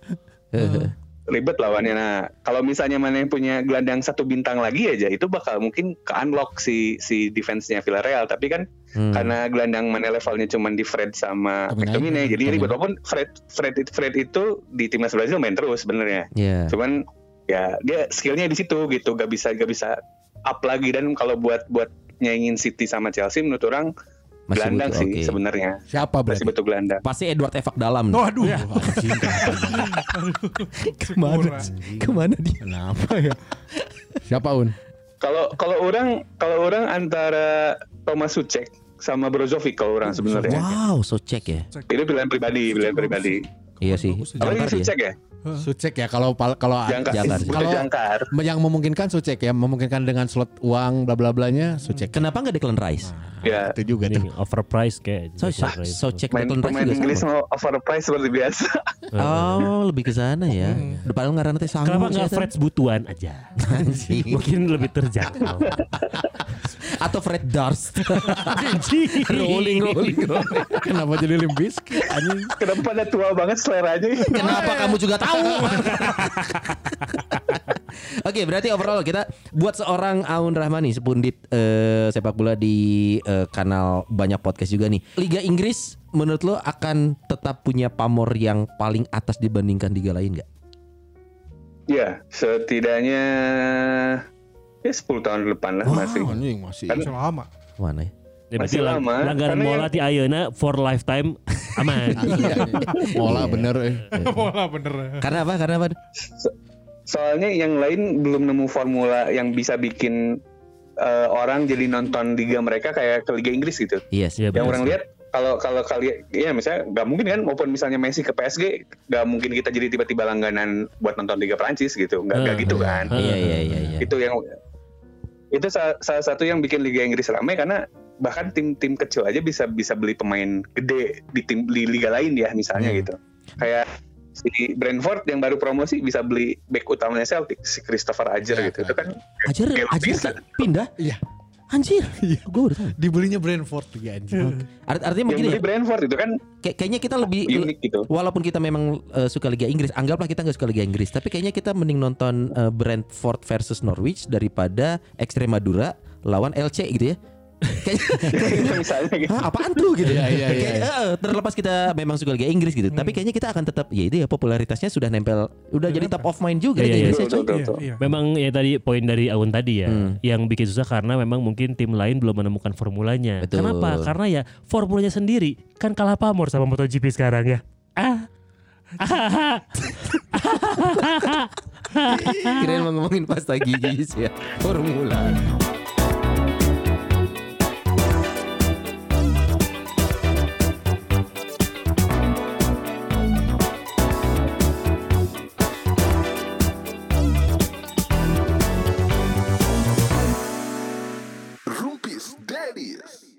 Speaker 5: Eh,
Speaker 7: ribet lawannya. Nah, kalau misalnya mana yang punya gelandang satu bintang lagi aja, itu bakal mungkin ke unlock si si defense-nya Villarreal. Tapi kan
Speaker 5: Hmm.
Speaker 7: karena gelandang mana levelnya cuma di Fred sama
Speaker 6: Dominan.
Speaker 7: McTominay, jadi
Speaker 6: Dominan.
Speaker 7: ribet. Walaupun Fred Fred Fred itu di timnas Brazil main terus sebenarnya.
Speaker 5: Iya.
Speaker 7: Cuman ya dia skillnya di situ gitu, gak bisa gak bisa up lagi dan kalau buat buat nyaingin City sama Chelsea menurut orang
Speaker 5: Masih
Speaker 7: gelandang
Speaker 5: butuh,
Speaker 7: sih
Speaker 5: oke.
Speaker 7: sebenarnya
Speaker 6: Siapa
Speaker 7: masih
Speaker 6: berarti?
Speaker 7: butuh gelandang.
Speaker 5: Pasti Edward Evak dalam.
Speaker 3: Oh, aduh.
Speaker 6: Iya.
Speaker 5: kemana? Kemana dia?
Speaker 6: Kenapa ya? Siapa Un?
Speaker 7: Kalau kalau orang kalau orang antara Thomas Sucek sama Brozovic kalau orang sebenarnya.
Speaker 5: Wow, so cek ya.
Speaker 7: Ini pilihan pribadi, pilihan pribadi.
Speaker 5: Iya sih. Jangkar
Speaker 7: Apa ini
Speaker 5: ya?
Speaker 7: Sucek ya?
Speaker 6: Sucek ya kalau pal- kalau
Speaker 7: Jangkar.
Speaker 5: Jangkar.
Speaker 7: Sebutnya
Speaker 6: Kalau-
Speaker 7: Jangkar.
Speaker 6: yang memungkinkan Sucek ya, memungkinkan dengan slot uang bla bla blanya Sucek.
Speaker 5: Kenapa nggak Declan Rice?
Speaker 7: Ya.
Speaker 6: Itu juga
Speaker 2: Ini
Speaker 6: tuh.
Speaker 2: overpriced kayak.
Speaker 5: So, so, so cek
Speaker 7: Main,
Speaker 5: Declan Rice
Speaker 7: pemain
Speaker 5: juga
Speaker 7: Inggris
Speaker 5: sama.
Speaker 7: mau overprice seperti biasa.
Speaker 5: Oh, lebih ke sana ya. Depan lu ngaran teh sangu.
Speaker 2: Kenapa
Speaker 5: saya
Speaker 2: nggak Fred butuan aja?
Speaker 5: tahu. Anjing.
Speaker 2: Mungkin lebih terjangkau. Ya,
Speaker 5: Atau Fred Durst.
Speaker 2: rolling,
Speaker 6: Kenapa jadi limbis?
Speaker 7: Kenapa pada tua banget seleranya? ya?
Speaker 5: Kenapa kamu juga tahu? Oke, berarti overall kita buat seorang Aun Rahmani sepundit eh, sepak bola di eh, kanal banyak podcast juga nih. Liga Inggris menurut lo akan tetap punya pamor yang paling atas dibandingkan liga lain nggak?
Speaker 7: ya, setidaknya ya 10 tahun ke depan lah masih.
Speaker 6: Anjing masih.
Speaker 3: Selama.
Speaker 5: Mana ya?
Speaker 2: Ya, berarti
Speaker 7: Masih
Speaker 2: lang-
Speaker 7: lama,
Speaker 2: langgaran
Speaker 7: karena
Speaker 2: bola
Speaker 7: yang-
Speaker 2: di Ayeuna for lifetime aman.
Speaker 6: Iya. Mola bener eh.
Speaker 3: Bola bener.
Speaker 5: Karena apa? Karena apa?
Speaker 7: Soalnya yang lain belum nemu formula yang bisa bikin eh, orang jadi nonton liga mereka kayak ke liga Inggris gitu.
Speaker 5: Iya sih.
Speaker 2: Iya, benar
Speaker 7: yang orang
Speaker 2: sih.
Speaker 7: lihat kalau kalau kalian ya misalnya nggak mungkin kan maupun misalnya Messi ke PSG nggak mungkin kita jadi tiba-tiba langganan buat nonton Liga Prancis gitu nggak nggak
Speaker 2: Eh,
Speaker 7: gitu kan
Speaker 5: Iya iya iya. iya.
Speaker 7: itu yang itu sa- salah satu yang bikin Liga Inggris ramai karena bahkan tim-tim kecil aja bisa bisa beli pemain gede di tim di liga lain ya misalnya gitu. Kayak si Brentford yang baru promosi bisa beli back utamanya Celtic si Christopher Ajer
Speaker 6: Iya,
Speaker 7: gitu. Itu kan
Speaker 5: Ajar,
Speaker 7: Kayak
Speaker 5: ajar
Speaker 7: bisa.
Speaker 5: pindah.
Speaker 6: Iya.
Speaker 5: Anjir, gue udah tahu.
Speaker 6: Dibelinya Brentford ya anjing.
Speaker 5: Art- artinya
Speaker 7: yang
Speaker 5: begini
Speaker 7: beli
Speaker 5: ya,
Speaker 7: Brentford itu kan
Speaker 5: kayak- kayaknya kita lebih
Speaker 7: unik gitu.
Speaker 5: walaupun kita memang eh, suka Liga Inggris, anggaplah kita nggak suka Liga Inggris, tapi kayaknya kita mending nonton eh, Brentford versus Norwich daripada Extremadura lawan LC gitu ya. Kayaknya
Speaker 7: misalnya gitu.
Speaker 5: Hah, apaan tuh gitu
Speaker 6: Iya, iya, iya,
Speaker 5: Kayak, eh, terlepas kita memang suka Liga Inggris gitu tapi kayaknya kita akan tetap ya itu ya popularitasnya sudah nempel udah jadi top of mind juga
Speaker 2: Iya,
Speaker 5: Liga
Speaker 2: iya.
Speaker 5: Inggris ya,
Speaker 7: Betul,
Speaker 5: coy.
Speaker 7: betul, betul.
Speaker 3: Iya.
Speaker 2: Memang ya tadi poin dari Aun tadi ya,
Speaker 5: Hmm.
Speaker 2: yang bikin susah karena memang mungkin tim lain belum menemukan formulanya.
Speaker 5: Betul.
Speaker 2: Kenapa? Karena ya formulanya sendiri kan kalah pamor sama MotoGP sekarang ya. Ah. Ah.
Speaker 5: kirain mau ngomongin pasta gigi sih ya formula
Speaker 4: Rumpis Daddies.